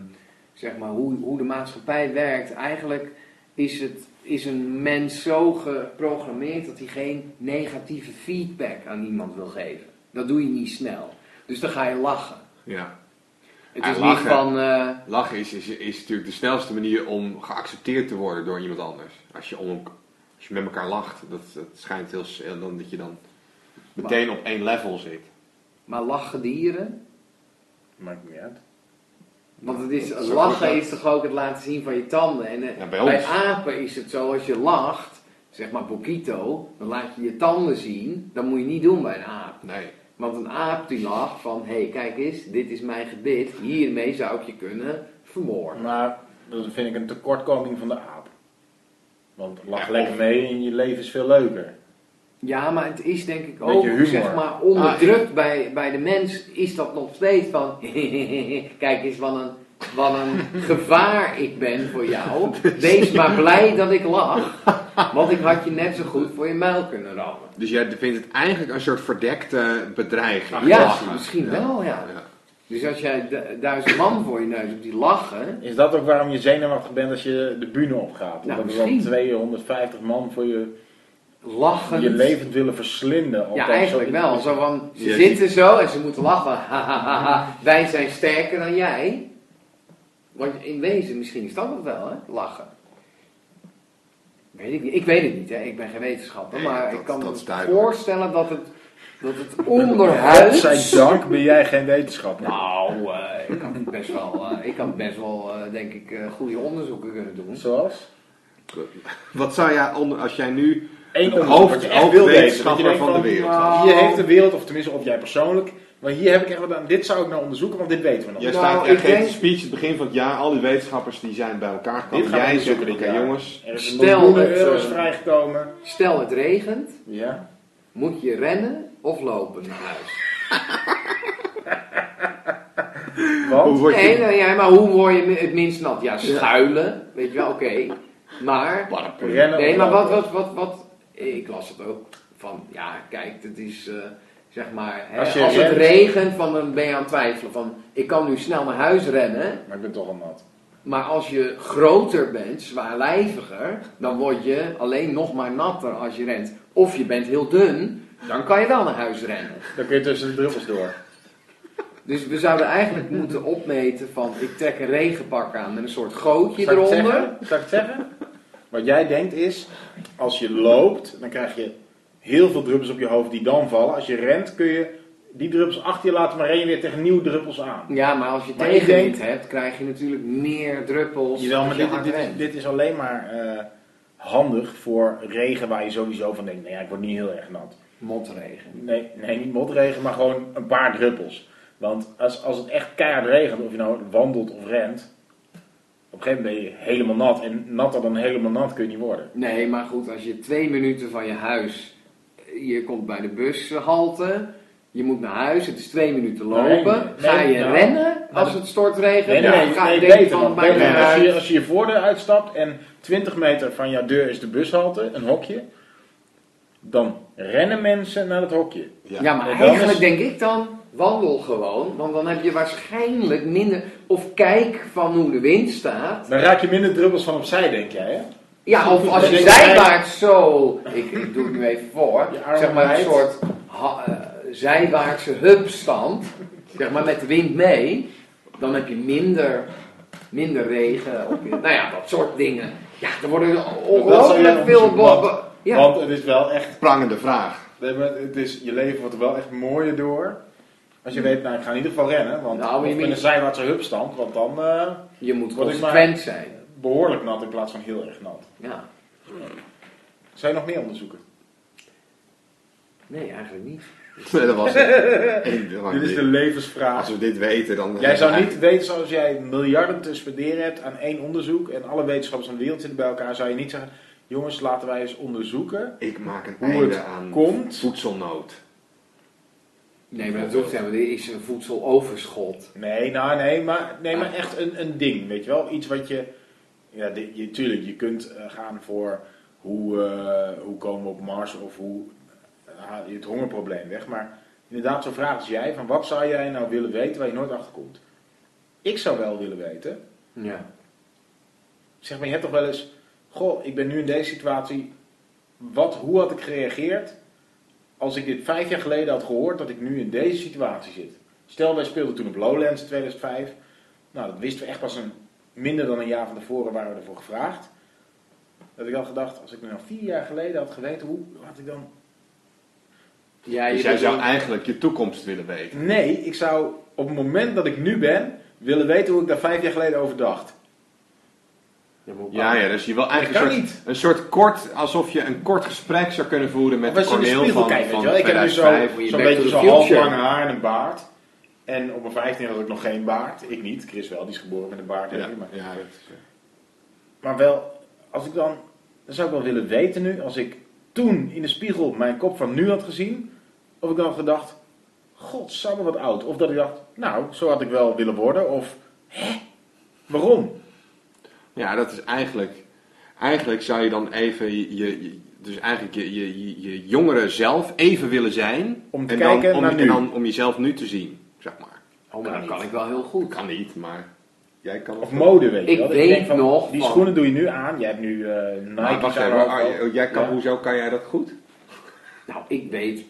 [SPEAKER 3] zeg maar, hoe, hoe de maatschappij werkt. Eigenlijk is, het, is een mens zo geprogrammeerd dat hij geen negatieve feedback aan iemand wil geven. Dat doe je niet snel. Dus dan ga je lachen.
[SPEAKER 2] Ja.
[SPEAKER 3] Het
[SPEAKER 2] En
[SPEAKER 3] is
[SPEAKER 2] lachen.
[SPEAKER 3] niet van, eh,
[SPEAKER 2] Lachen is, is, is natuurlijk de snelste manier om geaccepteerd te worden door iemand anders. Als je, om, als je met elkaar lacht, dat, dat schijnt heel, s- heel dan, dat je dan meteen op één level zit.
[SPEAKER 3] maar lachen dieren.
[SPEAKER 4] maakt niet uit.
[SPEAKER 3] Want het is,
[SPEAKER 2] Dat is ook
[SPEAKER 3] lachen
[SPEAKER 2] wel-
[SPEAKER 3] is toch ook het laten zien van je tanden. En, eh,
[SPEAKER 2] Ja, bij
[SPEAKER 3] bij,
[SPEAKER 2] ons.
[SPEAKER 3] apen is het zo, als je lacht, zeg maar Bokito, dan laat je je tanden zien. Dat moet je niet doen bij een aap.
[SPEAKER 2] Nee.
[SPEAKER 3] Want een aap die lacht van, hé hey, kijk eens, dit is mijn gebit, hiermee zou ik je kunnen vermoorden.
[SPEAKER 4] Maar dat vind ik een tekortkoming van de aap. Want lach
[SPEAKER 2] Ja,
[SPEAKER 4] lekker mee en je leven is veel leuker.
[SPEAKER 3] Ja, maar het is denk ik
[SPEAKER 4] Beetje
[SPEAKER 3] ook,
[SPEAKER 4] humor.
[SPEAKER 3] zeg maar, onderdrukt
[SPEAKER 2] Ah,
[SPEAKER 3] bij, bij de mens, is dat nog steeds van, kijk eens wat een, wat een gevaar ik ben voor jou. Wees maar blij dat ik lach, want ik had je net zo goed voor je muil kunnen rammen.
[SPEAKER 2] Dus jij vindt het eigenlijk een soort verdekte bedreiging.
[SPEAKER 3] ja,
[SPEAKER 2] lachen.
[SPEAKER 3] misschien wel, ja.
[SPEAKER 2] Ja.
[SPEAKER 3] Dus als jij du- duizend man voor je neus hebt die lachen,
[SPEAKER 4] Is dat ook waarom je zenuwachtig bent als je de bühne opgaat?
[SPEAKER 3] Nou,
[SPEAKER 4] Omdat er dan
[SPEAKER 3] misschien.
[SPEAKER 4] 250 man voor je,
[SPEAKER 3] lachen.
[SPEAKER 4] je levend willen verslinden.
[SPEAKER 3] Ja,
[SPEAKER 4] Althans,
[SPEAKER 3] eigenlijk
[SPEAKER 4] dat-
[SPEAKER 3] wel. Zo van, ze
[SPEAKER 2] Ja,
[SPEAKER 3] zitten zo en ze moeten lachen. Hahaha, Wij zijn sterker dan jij. Want in wezen, misschien is dat het wel, hè? Lachen. Weet ik, niet. ik weet het niet, hè? ik ben geen wetenschapper,
[SPEAKER 2] Nee,
[SPEAKER 3] maar
[SPEAKER 2] dat-
[SPEAKER 3] ik kan
[SPEAKER 2] dat
[SPEAKER 3] me
[SPEAKER 2] is duidelijk.
[SPEAKER 3] voorstellen dat het, dat het
[SPEAKER 4] Zijn
[SPEAKER 3] onderhuid...
[SPEAKER 4] dank ben jij geen wetenschapper.
[SPEAKER 3] Nou, eh, ik kan best wel, eh, ik kan best wel eh, denk ik, eh, goede onderzoeken kunnen doen.
[SPEAKER 4] Zoals?
[SPEAKER 2] Wat zou jij, onder, als jij nu
[SPEAKER 4] Eén
[SPEAKER 2] de
[SPEAKER 4] onderwerp wat
[SPEAKER 2] hoofd,
[SPEAKER 4] je echt wil weten. dat je
[SPEAKER 2] hoofdwetenschapper
[SPEAKER 4] denkt
[SPEAKER 2] van de wereld was?
[SPEAKER 3] nou,
[SPEAKER 4] Hier heeft de wereld, of tenminste of jij persoonlijk, maar hier heb ik echt wat aan. Dit zou ik nou onderzoeken, want dit weten we nog.
[SPEAKER 2] Jij
[SPEAKER 3] Nou,
[SPEAKER 2] staat
[SPEAKER 3] ik
[SPEAKER 2] echt geeft
[SPEAKER 3] denk-
[SPEAKER 2] een speech het begin van het jaar. Al die wetenschappers die zijn bij elkaar
[SPEAKER 4] Dit
[SPEAKER 2] gekomen.
[SPEAKER 4] gaan we
[SPEAKER 2] Jij zegt,
[SPEAKER 4] onderzoeken dit
[SPEAKER 2] oké
[SPEAKER 4] jaar.
[SPEAKER 2] jongens,
[SPEAKER 4] Er is een
[SPEAKER 3] Stel
[SPEAKER 4] miljoenen
[SPEAKER 3] dat,
[SPEAKER 4] euro's
[SPEAKER 3] eh,
[SPEAKER 4] vrijgekomen.
[SPEAKER 3] Stel het regent,
[SPEAKER 4] Ja.
[SPEAKER 3] moet je rennen of lopen naar huis?
[SPEAKER 2] hoe
[SPEAKER 4] Want?
[SPEAKER 2] word
[SPEAKER 3] Nee,
[SPEAKER 2] je...
[SPEAKER 3] nou ja, maar hoe word je mi- het minst nat? Ja, schuilen, weet je wel, oké. Maar,
[SPEAKER 2] Paraplu.
[SPEAKER 4] Rennen
[SPEAKER 3] nee,
[SPEAKER 4] of
[SPEAKER 3] maar wat,
[SPEAKER 4] lopen?
[SPEAKER 3] wat, wat, wat, ik las het ook van, ja, kijk, het is, eh, zeg maar, hè,
[SPEAKER 4] Als
[SPEAKER 3] als,
[SPEAKER 4] je
[SPEAKER 3] het
[SPEAKER 4] rent-
[SPEAKER 3] regent, van, dan ben je aan het twijfelen van, ik kan nu snel naar huis rennen,
[SPEAKER 4] Maar ik ben toch al nat.
[SPEAKER 3] maar als je groter bent, zwaarlijviger, dan word je alleen nog maar natter als je rent. Of je bent heel dun, dan kan je wel naar huis rennen.
[SPEAKER 4] Dan kun je tussen de druppels door.
[SPEAKER 3] Dus we zouden eigenlijk moeten opmeten van, ik trek een regenpak aan met een soort gootje
[SPEAKER 4] Zal ik het
[SPEAKER 3] eronder.
[SPEAKER 4] zeggen? Zal ik het zeggen? Wat jij denkt is, als je loopt, dan krijg je heel veel druppels op je hoofd die dan vallen. Als je rent, kun je die druppels achter je laten, maar ren je weer tegen nieuwe druppels aan.
[SPEAKER 3] Ja, maar als je
[SPEAKER 4] Maar ik
[SPEAKER 3] tegenwind
[SPEAKER 4] denk-
[SPEAKER 3] hebt, krijg je natuurlijk meer druppels.
[SPEAKER 4] Jawel, maar
[SPEAKER 3] als je
[SPEAKER 4] dit,
[SPEAKER 3] hard
[SPEAKER 4] dit,
[SPEAKER 3] rent.
[SPEAKER 4] dit is alleen maar eh, handig voor regen waar je sowieso van denkt, nee, ja, ik word niet heel erg nat.
[SPEAKER 3] Motregen.
[SPEAKER 4] Nee, nee, niet motregen, maar gewoon een paar druppels. Want als, als het echt keihard regent, of je nou wandelt of rent, op een gegeven moment ben je helemaal nat. En natter dan helemaal nat kun je niet worden.
[SPEAKER 3] Nee, maar goed, als je twee minuten van je huis... Je komt bij de bushalte, je moet naar huis, het is twee minuten
[SPEAKER 4] Nee,
[SPEAKER 3] lopen.
[SPEAKER 4] nee,
[SPEAKER 3] Ga je
[SPEAKER 4] nou,
[SPEAKER 3] rennen
[SPEAKER 4] maar
[SPEAKER 3] als
[SPEAKER 4] dat-
[SPEAKER 3] het stortregent?
[SPEAKER 4] Nee, nee,
[SPEAKER 3] Ja,
[SPEAKER 4] nee,
[SPEAKER 3] ga
[SPEAKER 4] nee,
[SPEAKER 3] je denken
[SPEAKER 4] beter.
[SPEAKER 3] van,
[SPEAKER 4] want
[SPEAKER 3] bij
[SPEAKER 4] beter.
[SPEAKER 3] mijn
[SPEAKER 4] Als, je,
[SPEAKER 3] huis-
[SPEAKER 4] als je je voordeur uitstapt en 20 meter van jouw deur is de bushalte, een hokje, dan rennen mensen naar het hokje.
[SPEAKER 3] Ja,
[SPEAKER 2] Ja.
[SPEAKER 3] maar
[SPEAKER 4] En dan
[SPEAKER 3] eigenlijk
[SPEAKER 4] is-
[SPEAKER 3] denk ik dan... Wandel gewoon, want dan heb je waarschijnlijk minder... Of kijk van hoe de wind staat.
[SPEAKER 4] Dan raak je minder druppels van opzij, denk jij, hè?
[SPEAKER 3] Ja, of als je
[SPEAKER 4] Ik denk
[SPEAKER 3] zijwaarts zo... Ik, ik doe het nu even voor.
[SPEAKER 4] Je arm
[SPEAKER 3] Zeg maar een
[SPEAKER 4] omhoog.
[SPEAKER 3] soort ha- eh, zijwaartse hupstand. Zeg maar met de wind mee. Dan heb je minder, minder regen. Op je, nou ja, dat soort dingen. Ja, er worden ongelooflijk
[SPEAKER 4] jij
[SPEAKER 3] veel...
[SPEAKER 4] onderzoeken,
[SPEAKER 3] bo-
[SPEAKER 4] want-
[SPEAKER 3] bo- Ja.
[SPEAKER 4] Want het is wel echt...
[SPEAKER 2] Prangende vraag.
[SPEAKER 4] nee, maar Het is, je leven wordt er wel echt mooier door. Als je weet, nou, ik ga in ieder geval rennen. Want
[SPEAKER 3] Hmm. Nou, maar je
[SPEAKER 4] of in een
[SPEAKER 3] moet-
[SPEAKER 4] zijwaartse hupstand. Want dan eh,
[SPEAKER 3] Je moet
[SPEAKER 4] Word ik maar-
[SPEAKER 3] consequent zijn.
[SPEAKER 4] behoorlijk nat in plaats van heel erg nat.
[SPEAKER 3] Ja,
[SPEAKER 4] Zou je nog meer onderzoeken?
[SPEAKER 3] nee, eigenlijk niet.
[SPEAKER 2] Nee, dat was het. Eén
[SPEAKER 4] Dit is de
[SPEAKER 2] drankje.
[SPEAKER 4] levensvraag.
[SPEAKER 2] Als we dit weten, dan... eh,
[SPEAKER 4] Jij zou niet weten, zoals jij miljarden te spenderen hebt aan één onderzoek. En alle wetenschappers van de wereld zitten bij elkaar. Zou je niet zeggen, jongens, laten wij eens onderzoeken
[SPEAKER 2] Ik maak een
[SPEAKER 4] hoe
[SPEAKER 2] einde
[SPEAKER 4] het
[SPEAKER 2] aan
[SPEAKER 4] komt.
[SPEAKER 2] voedselnood.
[SPEAKER 3] Nee, maar dat hoeft helemaal niet. Er is een voedseloverschot.
[SPEAKER 4] Nee, nou nee, maar, nee, maar echt een, een ding, weet je wel? Iets wat je... Ja, di- je, tuurlijk, je kunt eh, gaan voor hoe, eh, hoe komen we op Mars of hoe eh, haal je het hongerprobleem weg. Maar inderdaad, zo'n vraag als jij, van wat zou jij nou willen weten waar je nooit achter komt? Ik zou wel willen weten,
[SPEAKER 3] Ja.
[SPEAKER 4] zeg maar, je hebt toch wel eens... Goh, ik ben nu in deze situatie. Wat, hoe had ik gereageerd als ik dit vijf jaar geleden had gehoord dat ik nu in deze situatie zit? Stel, wij speelden toen op Lowlands in 2005. Nou, dat wisten we echt pas een, minder dan een jaar van tevoren waren we ervoor gevraagd. Dat ik had gedacht, als ik me nou vier jaar geleden had geweten, hoe had ik dan...
[SPEAKER 3] Ja,
[SPEAKER 2] Dus
[SPEAKER 3] je
[SPEAKER 2] jij
[SPEAKER 3] bent
[SPEAKER 2] zou
[SPEAKER 3] wel-
[SPEAKER 2] eigenlijk je toekomst willen weten.
[SPEAKER 4] Nee, ik zou op het moment dat ik nu ben, willen weten hoe ik daar vijf jaar geleden over dacht.
[SPEAKER 3] Ja, maar hoe
[SPEAKER 2] Ja, ja, dus je wil eigenlijk
[SPEAKER 4] Dat
[SPEAKER 2] een
[SPEAKER 4] kan
[SPEAKER 2] soort, een soort kort, alsof je een kort gesprek zou kunnen voeren met
[SPEAKER 4] Of als je in de
[SPEAKER 2] Corneel
[SPEAKER 4] spiegel
[SPEAKER 2] van,
[SPEAKER 4] kijkt, weet
[SPEAKER 2] van
[SPEAKER 4] je wel. Ik heb nu zo,
[SPEAKER 2] 2005.
[SPEAKER 3] je
[SPEAKER 4] zo'n
[SPEAKER 3] Back to
[SPEAKER 4] beetje
[SPEAKER 3] the
[SPEAKER 4] zo'n half
[SPEAKER 3] Future.
[SPEAKER 4] lange haar en een baard. En op mijn 15 had ik nog geen baard. Ik niet, Chris wel, die is geboren met een baard.
[SPEAKER 2] Ja,
[SPEAKER 4] denk ik, Maar,
[SPEAKER 2] ja, dat is, eh,
[SPEAKER 4] maar wel, als ik dan, dan zou ik wel willen weten nu, als ik toen in de spiegel mijn kop van nu had gezien, of ik dan had gedacht, godsamme wat oud. Of dat ik dacht, nou, zo had ik wel willen worden. Of, hè, waarom?
[SPEAKER 2] Ja, dat is eigenlijk. Eigenlijk zou je dan even je, je- je- dus eigenlijk je, je, je, je jongere zelf even willen zijn.
[SPEAKER 4] Om te
[SPEAKER 2] en
[SPEAKER 4] kijken
[SPEAKER 2] dan, om,
[SPEAKER 4] naar
[SPEAKER 2] en
[SPEAKER 4] nu.
[SPEAKER 2] dan om jezelf nu te zien, zeg maar.
[SPEAKER 3] Oh, maar dat kan ik wel heel goed.
[SPEAKER 2] Kan niet, maar jij kan.
[SPEAKER 4] Of mode, weet je
[SPEAKER 3] Ik
[SPEAKER 4] wel. Dat je
[SPEAKER 3] weet
[SPEAKER 4] denkt van,
[SPEAKER 3] nog
[SPEAKER 4] Die
[SPEAKER 3] van-
[SPEAKER 4] schoenen doe je nu aan. Jij hebt nu eh Nike's
[SPEAKER 2] Maar Ah, wacht
[SPEAKER 4] aan,
[SPEAKER 2] even,
[SPEAKER 4] ook
[SPEAKER 2] Arjen,
[SPEAKER 4] wel.
[SPEAKER 2] jij kan,
[SPEAKER 4] Ja.
[SPEAKER 2] hoezo kan jij dat goed?
[SPEAKER 3] Nou, ik weet...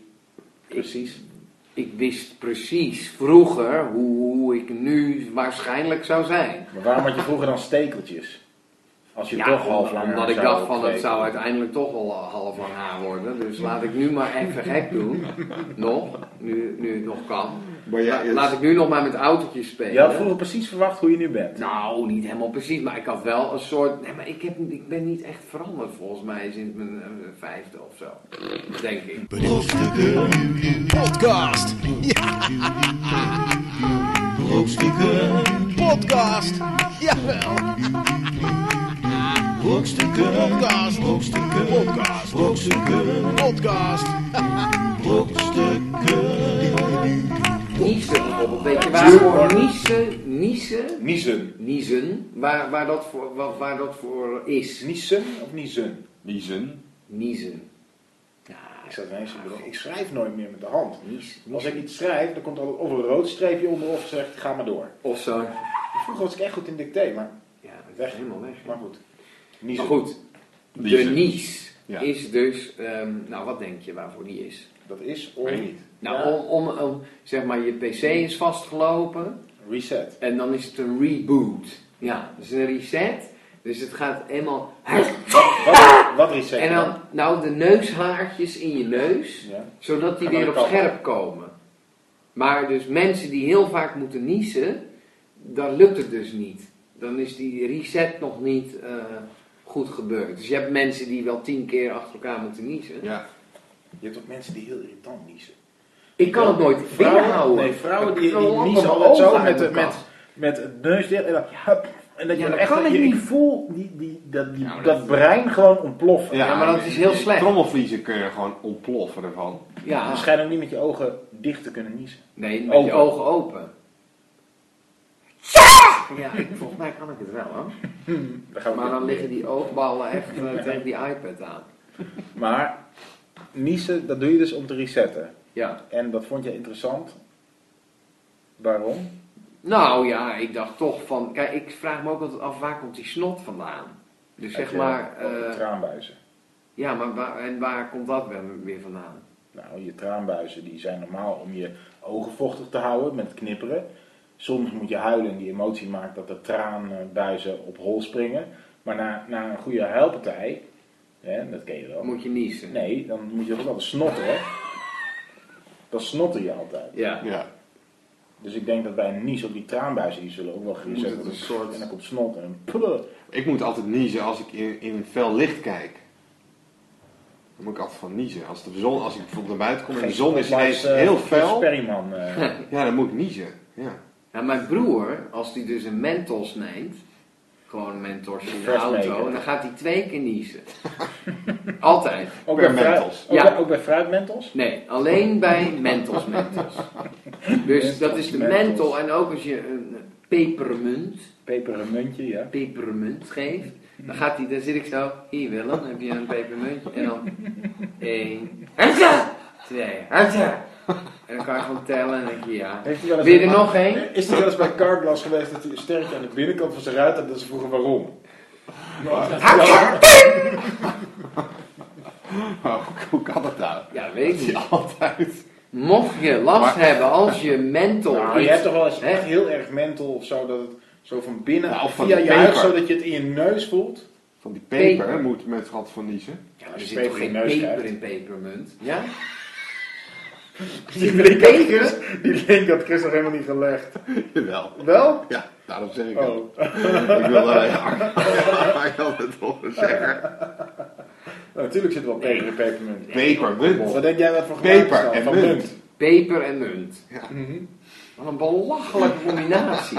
[SPEAKER 3] Precies. Ik wist precies vroeger hoe ik nu waarschijnlijk zou zijn.
[SPEAKER 4] Maar waarom had je vroeger dan stekeltjes? Als je
[SPEAKER 3] Ja,
[SPEAKER 4] toch half
[SPEAKER 3] omdat-
[SPEAKER 4] lang
[SPEAKER 3] omdat
[SPEAKER 4] haar
[SPEAKER 3] ik
[SPEAKER 4] zou
[SPEAKER 3] dacht van dat
[SPEAKER 4] kweken.
[SPEAKER 3] zou uiteindelijk toch al eh, half lang haar worden. Dus laat ik nu maar even gek doen. Nog. Nu, nu het nog kan.
[SPEAKER 2] Maar ja,
[SPEAKER 3] La-
[SPEAKER 2] het-
[SPEAKER 3] laat ik nu nog maar met autootjes spelen.
[SPEAKER 4] Je had vroeger precies verwacht hoe je nu bent.
[SPEAKER 3] Nou, niet helemaal precies, maar ik had wel een soort. Nee, maar ik, heb, ik ben niet echt veranderd volgens mij sinds mijn eh, vijfde of zo. Denk ik.
[SPEAKER 1] Brokstukken. Podcast. Brokstukken. Podcast. Jawel. Brokstukken. Podcast. Brokstukken. Podcast. Brokstukken. Podcast. Brokstukken.
[SPEAKER 3] Niezen bijvoorbeeld. Weet je waar voor niezen, niezen,
[SPEAKER 4] Niezen.
[SPEAKER 3] niezen, waar, waar, dat voor, waar, waar dat voor is.
[SPEAKER 4] Niezen of niezen?
[SPEAKER 2] Niezen.
[SPEAKER 3] Niezen. Ja,
[SPEAKER 4] Ik, zat ineens te bedenken, ik schrijf nooit meer met de hand.
[SPEAKER 3] niezen.
[SPEAKER 4] Als ik iets schrijf, dan komt er altijd of een rood streepje onder of zegt ga maar door.
[SPEAKER 3] Of zo.
[SPEAKER 4] Vroeger was ik echt goed in dicté, maar,
[SPEAKER 3] Ja, dat
[SPEAKER 4] Weg.
[SPEAKER 3] is helemaal weg.
[SPEAKER 4] maar goed. Niezen.
[SPEAKER 3] Maar goed, de
[SPEAKER 2] Niezen.
[SPEAKER 3] nies
[SPEAKER 2] Ja.
[SPEAKER 3] is dus, ehm, nou wat denk je waarvoor die is?
[SPEAKER 4] Dat is om...
[SPEAKER 2] Weet niet.
[SPEAKER 3] Nou,
[SPEAKER 4] Ja.
[SPEAKER 3] om, om, om, zeg maar, je pc is vastgelopen.
[SPEAKER 4] Reset.
[SPEAKER 3] En dan is het een reboot. Ja, dus een reset. Dus het gaat helemaal...
[SPEAKER 4] Wat, wat reset?
[SPEAKER 3] En dan, nou, de neushaartjes in je neus.
[SPEAKER 4] Ja.
[SPEAKER 3] Zodat die
[SPEAKER 4] Gaan
[SPEAKER 3] weer
[SPEAKER 4] naar
[SPEAKER 3] op
[SPEAKER 4] de kapper.
[SPEAKER 3] scherp komen. Maar dus mensen die heel vaak moeten niezen, dan lukt het dus niet. Dan is die reset nog niet eh, goed gebeurd. Dus je hebt mensen die wel tien keer achter elkaar moeten niezen.
[SPEAKER 2] Ja.
[SPEAKER 4] Je hebt ook mensen die heel irritant niezen.
[SPEAKER 3] Ik kan het nooit
[SPEAKER 4] Vrouwen,
[SPEAKER 3] binnenhouden.
[SPEAKER 4] nee, vrouwen die,
[SPEAKER 3] Ik
[SPEAKER 4] die
[SPEAKER 3] klap
[SPEAKER 4] niezen
[SPEAKER 3] mijn
[SPEAKER 4] altijd
[SPEAKER 3] ogen
[SPEAKER 4] zo
[SPEAKER 3] uit
[SPEAKER 4] met, de-
[SPEAKER 3] elkaar.
[SPEAKER 4] met, met het neus dicht en dan hup, En dat
[SPEAKER 3] Ja,
[SPEAKER 4] je
[SPEAKER 3] dat
[SPEAKER 4] echt,
[SPEAKER 3] kan
[SPEAKER 4] dat
[SPEAKER 3] ik
[SPEAKER 4] je-
[SPEAKER 3] niet. Nou,
[SPEAKER 4] voel die, die, dat, die,
[SPEAKER 2] Ja, maar
[SPEAKER 4] dat,
[SPEAKER 2] dat-
[SPEAKER 4] brein gewoon ontploffen.
[SPEAKER 3] Ja, maar dat is heel slecht.
[SPEAKER 2] Trommelvliezen kun je gewoon ontploffen ervan.
[SPEAKER 3] Ja.
[SPEAKER 4] Je schijnt ook niet met je ogen dicht te kunnen niezen.
[SPEAKER 3] Nee, met
[SPEAKER 4] Open.
[SPEAKER 3] je ogen open. Ja, volgens mij kan ik het wel hoor.
[SPEAKER 4] Daar gaan we
[SPEAKER 3] Maar dan
[SPEAKER 4] niet.
[SPEAKER 3] liggen die oogballen echt eh, tegen die iPad aan.
[SPEAKER 4] maar niezen, dat doe je dus om te resetten.
[SPEAKER 3] Ja.
[SPEAKER 4] En dat vond je interessant Waarom?
[SPEAKER 3] Nou ja, ik dacht toch van... Kijk, ik vraag me ook altijd af, waar komt die snot vandaan? Dus zeg
[SPEAKER 4] Uit,
[SPEAKER 3] maar...
[SPEAKER 4] eh,
[SPEAKER 3] eh,
[SPEAKER 4] traanbuizen.
[SPEAKER 3] ja, maar waar, en waar komt dat weer- weer vandaan?
[SPEAKER 4] Nou, je traanbuizen die zijn normaal om je ogen vochtig te houden met knipperen. Soms moet je huilen en die emotie maakt dat de traanbuizen op hol springen. Maar na, na een goede huilpartij, hè, dat ken je wel.
[SPEAKER 3] Moet je niezen?
[SPEAKER 4] Nee, dan moet je ook altijd snotteren. Dan snotter je altijd.
[SPEAKER 3] Ja.
[SPEAKER 2] Ja.
[SPEAKER 4] Dus ik denk dat bij een nies op die traanbuizen, die zullen ook wel
[SPEAKER 2] Moet
[SPEAKER 4] gezet
[SPEAKER 2] het
[SPEAKER 4] worden.
[SPEAKER 2] een soort-
[SPEAKER 4] En dan komt snot en een pudder.
[SPEAKER 2] Ik moet altijd niezen als ik in, in een fel licht kijk. Dan moet ik altijd van niezen. Als, de zon, als ik bijvoorbeeld naar buiten kom en de zon is ineens
[SPEAKER 4] eh,
[SPEAKER 2] heel fel, Hm.
[SPEAKER 4] Sperryman. eh.
[SPEAKER 2] ja, dan moet ik niezen. Ja.
[SPEAKER 3] Nou, mijn broer, als hij dus een mentos neemt... Gewoon een mentos in de
[SPEAKER 4] Fresh
[SPEAKER 3] auto...
[SPEAKER 4] maker.
[SPEAKER 3] En dan gaat hij twee keer niezen. Altijd.
[SPEAKER 4] ook,
[SPEAKER 2] Bij
[SPEAKER 4] bij fruit-
[SPEAKER 2] Mentos.
[SPEAKER 4] Ook,
[SPEAKER 3] Ja.
[SPEAKER 4] bij, ook bij fruitmentels?
[SPEAKER 3] Nee, alleen bij mentos mentos. Dus dat is de
[SPEAKER 4] Mentos.
[SPEAKER 3] menthol en ook als je een pepermunt,
[SPEAKER 4] Pepermuntje, ja.
[SPEAKER 3] pepermunt geeft, dan gaat hij, dan zit ik zo, hier Willem, heb je een pepermuntje? En dan één, hatsa, twee, hatsa. En dan kan je gewoon tellen en denk je ja.
[SPEAKER 4] Heeft hij wel eens
[SPEAKER 3] Wil je er nog één?
[SPEAKER 4] Is hij wel eens bij Carglass geweest dat hij een sterretje aan de binnenkant van zijn ruit had? Dat ze vroegen waarom.
[SPEAKER 3] Nou,
[SPEAKER 2] Oh, hoe kan dat nou?
[SPEAKER 3] Ja, weet ik niet.
[SPEAKER 2] Altijd.
[SPEAKER 3] Mocht je last hebben als je menthol
[SPEAKER 4] Nou, je
[SPEAKER 3] iets-
[SPEAKER 4] hebt toch wel eens
[SPEAKER 3] Hè?
[SPEAKER 4] echt heel erg mental of zo, dat het zo van binnen,
[SPEAKER 2] Nou, of van
[SPEAKER 4] via
[SPEAKER 2] de
[SPEAKER 4] je huid,
[SPEAKER 2] peper.
[SPEAKER 4] zodat je het in je neus voelt.
[SPEAKER 2] Van die peper,
[SPEAKER 3] Peper.
[SPEAKER 2] moet mensen altijd van niezen.
[SPEAKER 3] Ja, maar
[SPEAKER 4] Als
[SPEAKER 3] er
[SPEAKER 4] je
[SPEAKER 3] zit toch
[SPEAKER 4] peper
[SPEAKER 3] geen
[SPEAKER 4] in je neus
[SPEAKER 3] peper
[SPEAKER 4] krijgt.
[SPEAKER 3] in pepermunt? Ja?
[SPEAKER 4] Die link had Chris, die link had Chris nog helemaal niet gelegd.
[SPEAKER 2] Jawel.
[SPEAKER 4] Wel?
[SPEAKER 2] Ja, daarom zeg ik dat.
[SPEAKER 4] Oh.
[SPEAKER 2] Ik wil daar ja, ik wil het over zeggen.
[SPEAKER 4] Nou, natuurlijk zit er wel peper in pepermunt.
[SPEAKER 2] Peper, munt.
[SPEAKER 4] Wat denk jij dat voor gemaakt is
[SPEAKER 2] Peper
[SPEAKER 4] dan?
[SPEAKER 2] en
[SPEAKER 4] Van
[SPEAKER 2] munt.
[SPEAKER 3] Peper en munt.
[SPEAKER 4] Mhm.
[SPEAKER 3] Wat een belachelijke combinatie.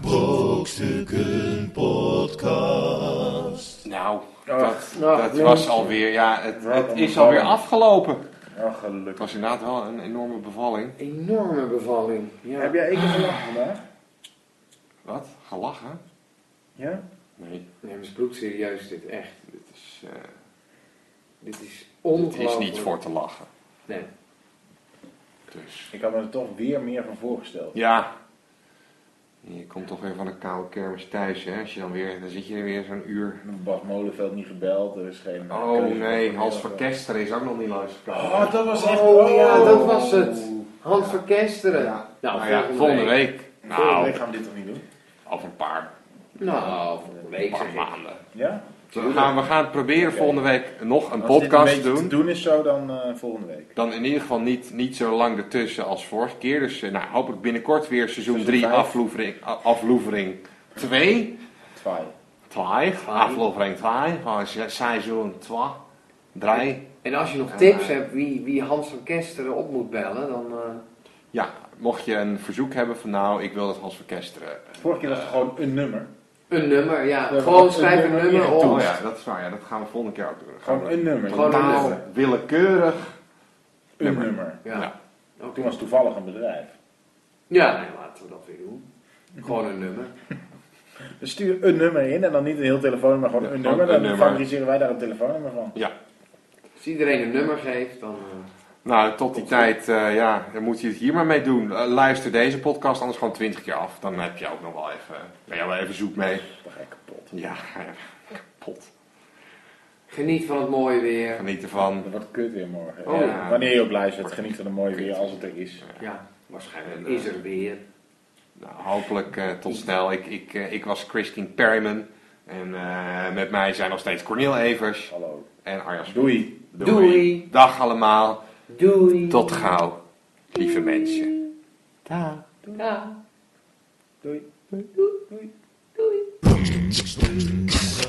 [SPEAKER 1] Brokstukken Podcast.
[SPEAKER 2] Nou,
[SPEAKER 4] Ach,
[SPEAKER 2] dat,
[SPEAKER 4] nou,
[SPEAKER 2] dat
[SPEAKER 4] jongens.
[SPEAKER 2] was alweer, ja, het,
[SPEAKER 4] Wat
[SPEAKER 2] het
[SPEAKER 4] een
[SPEAKER 2] is alweer
[SPEAKER 4] bevalling.
[SPEAKER 2] afgelopen.
[SPEAKER 4] Oh,
[SPEAKER 2] Het
[SPEAKER 4] gelukkig.
[SPEAKER 2] was inderdaad wel een enorme bevalling.
[SPEAKER 3] Enorme bevalling. Ja.
[SPEAKER 4] Heb jij één keer gelachen vandaag?
[SPEAKER 2] Wat? Gelachen?
[SPEAKER 4] Ja?
[SPEAKER 2] Nee,
[SPEAKER 3] Nee, maar is bloedserieus dit, echt.
[SPEAKER 2] dit is, eh,
[SPEAKER 3] Dit is
[SPEAKER 2] dit
[SPEAKER 3] ongelooflijk.
[SPEAKER 2] is niet voor te lachen.
[SPEAKER 3] Nee.
[SPEAKER 2] Dus,
[SPEAKER 4] Ik had me er toch weer meer van voorgesteld.
[SPEAKER 2] ja. Je komt toch weer van een koude kermis thuis, hè? Als je dan, weer, dan zit je er weer zo'n uur.
[SPEAKER 4] Bas Molenveld niet gebeld, er is geen... eh,
[SPEAKER 2] Oh
[SPEAKER 4] keuze.
[SPEAKER 2] nee, Hans van Kester is ook nog niet langsgekomen.
[SPEAKER 4] Oh, dat was echt...
[SPEAKER 3] Oh, ja, dat was het. Hans van Kesteren.
[SPEAKER 2] Ja.
[SPEAKER 3] Nou,
[SPEAKER 2] Nou ja, volgende week.
[SPEAKER 4] Nou,
[SPEAKER 2] Nou,
[SPEAKER 4] nee, gaan we dit toch niet doen?
[SPEAKER 2] over een paar,
[SPEAKER 3] Nou, volgende week
[SPEAKER 2] paar
[SPEAKER 3] zeg ik.
[SPEAKER 2] maanden.
[SPEAKER 4] Ja?
[SPEAKER 2] We gaan, we gaan proberen
[SPEAKER 4] Oké.
[SPEAKER 2] volgende week nog een
[SPEAKER 4] Als
[SPEAKER 2] podcast
[SPEAKER 4] dit
[SPEAKER 2] te
[SPEAKER 4] een beetje
[SPEAKER 2] doen.
[SPEAKER 4] te doen is zo, dan eh, volgende week.
[SPEAKER 2] Dan in ieder geval niet, niet zo lang ertussen als vorige keer. Dus eh, nou, hopelijk binnenkort weer seizoen
[SPEAKER 4] Seizoen
[SPEAKER 2] 3,
[SPEAKER 4] vijf.
[SPEAKER 2] aflevering, a- aflevering 2.
[SPEAKER 4] Twaai.
[SPEAKER 2] 2, aflevering 2 van se- seizoen 2, 3.
[SPEAKER 3] En als je nog tips hebt wie, wie Hans van Kesteren op moet bellen, dan... eh,
[SPEAKER 2] Ja, mocht je een verzoek hebben van eh, nou, ik wil dat Hans verkesteren.
[SPEAKER 4] Vorige keer was het gewoon een nummer.
[SPEAKER 3] een nummer, ja.
[SPEAKER 4] Ja,
[SPEAKER 3] Gewoon
[SPEAKER 4] een
[SPEAKER 3] schrijf een
[SPEAKER 4] nummer
[SPEAKER 3] nummer
[SPEAKER 4] ingevoerd.
[SPEAKER 3] op.
[SPEAKER 2] Oh ja, dat is waar. Ja, dat gaan we volgende keer ook doen. Dan gaan
[SPEAKER 4] Gewoon
[SPEAKER 2] we
[SPEAKER 4] een nummer.
[SPEAKER 3] Gewoon een
[SPEAKER 2] totaal
[SPEAKER 3] nummer.
[SPEAKER 2] willekeurig.
[SPEAKER 4] Een
[SPEAKER 2] nummer.
[SPEAKER 4] nummer.
[SPEAKER 3] Ja,
[SPEAKER 2] Ja.
[SPEAKER 4] Toen
[SPEAKER 3] oké.
[SPEAKER 4] was het toevallig een bedrijf.
[SPEAKER 3] Ja, nee, laten we dat weer doen. Gewoon een nummer.
[SPEAKER 4] Dus stuur een nummer in en dan niet een heel telefoonnummer, maar gewoon
[SPEAKER 2] Ja,
[SPEAKER 4] een
[SPEAKER 2] gewoon
[SPEAKER 4] nummer.
[SPEAKER 2] een
[SPEAKER 4] Dan
[SPEAKER 2] nummer.
[SPEAKER 4] fabriceren wij daar een telefoonnummer van.
[SPEAKER 2] Ja.
[SPEAKER 3] Als iedereen een nummer geeft, dan... eh,
[SPEAKER 2] Nou, tot die tijd, eh, ja, dan moet je het hier maar mee doen. Eh, luister deze podcast anders gewoon twintig keer af. Dan heb je ook nog wel even, eh, ben je wel even zoek mee.
[SPEAKER 4] Dan ga ik kapot.
[SPEAKER 2] Ja, kapot.
[SPEAKER 3] geniet van het mooie weer.
[SPEAKER 2] Geniet ervan.
[SPEAKER 4] Dat wordt kut weer morgen.
[SPEAKER 3] Oh,
[SPEAKER 4] Ja.
[SPEAKER 3] ja.
[SPEAKER 4] Wanneer je op lijst bent, geniet van de mooie weer als het er is.
[SPEAKER 3] Ja, waarschijnlijk is er weer.
[SPEAKER 2] eh, Nou, hopelijk eh, tot snel. Ik, ik, eh, ik was Christine Perryman. En eh, met mij zijn nog steeds Cornel Evers
[SPEAKER 4] Hallo.
[SPEAKER 2] en Arjan Sp-
[SPEAKER 4] Doei.
[SPEAKER 3] Doei.
[SPEAKER 2] Dag allemaal.
[SPEAKER 5] Doei.
[SPEAKER 2] Tot gauw, lieve mensen.
[SPEAKER 5] Nou.
[SPEAKER 1] Brokstukken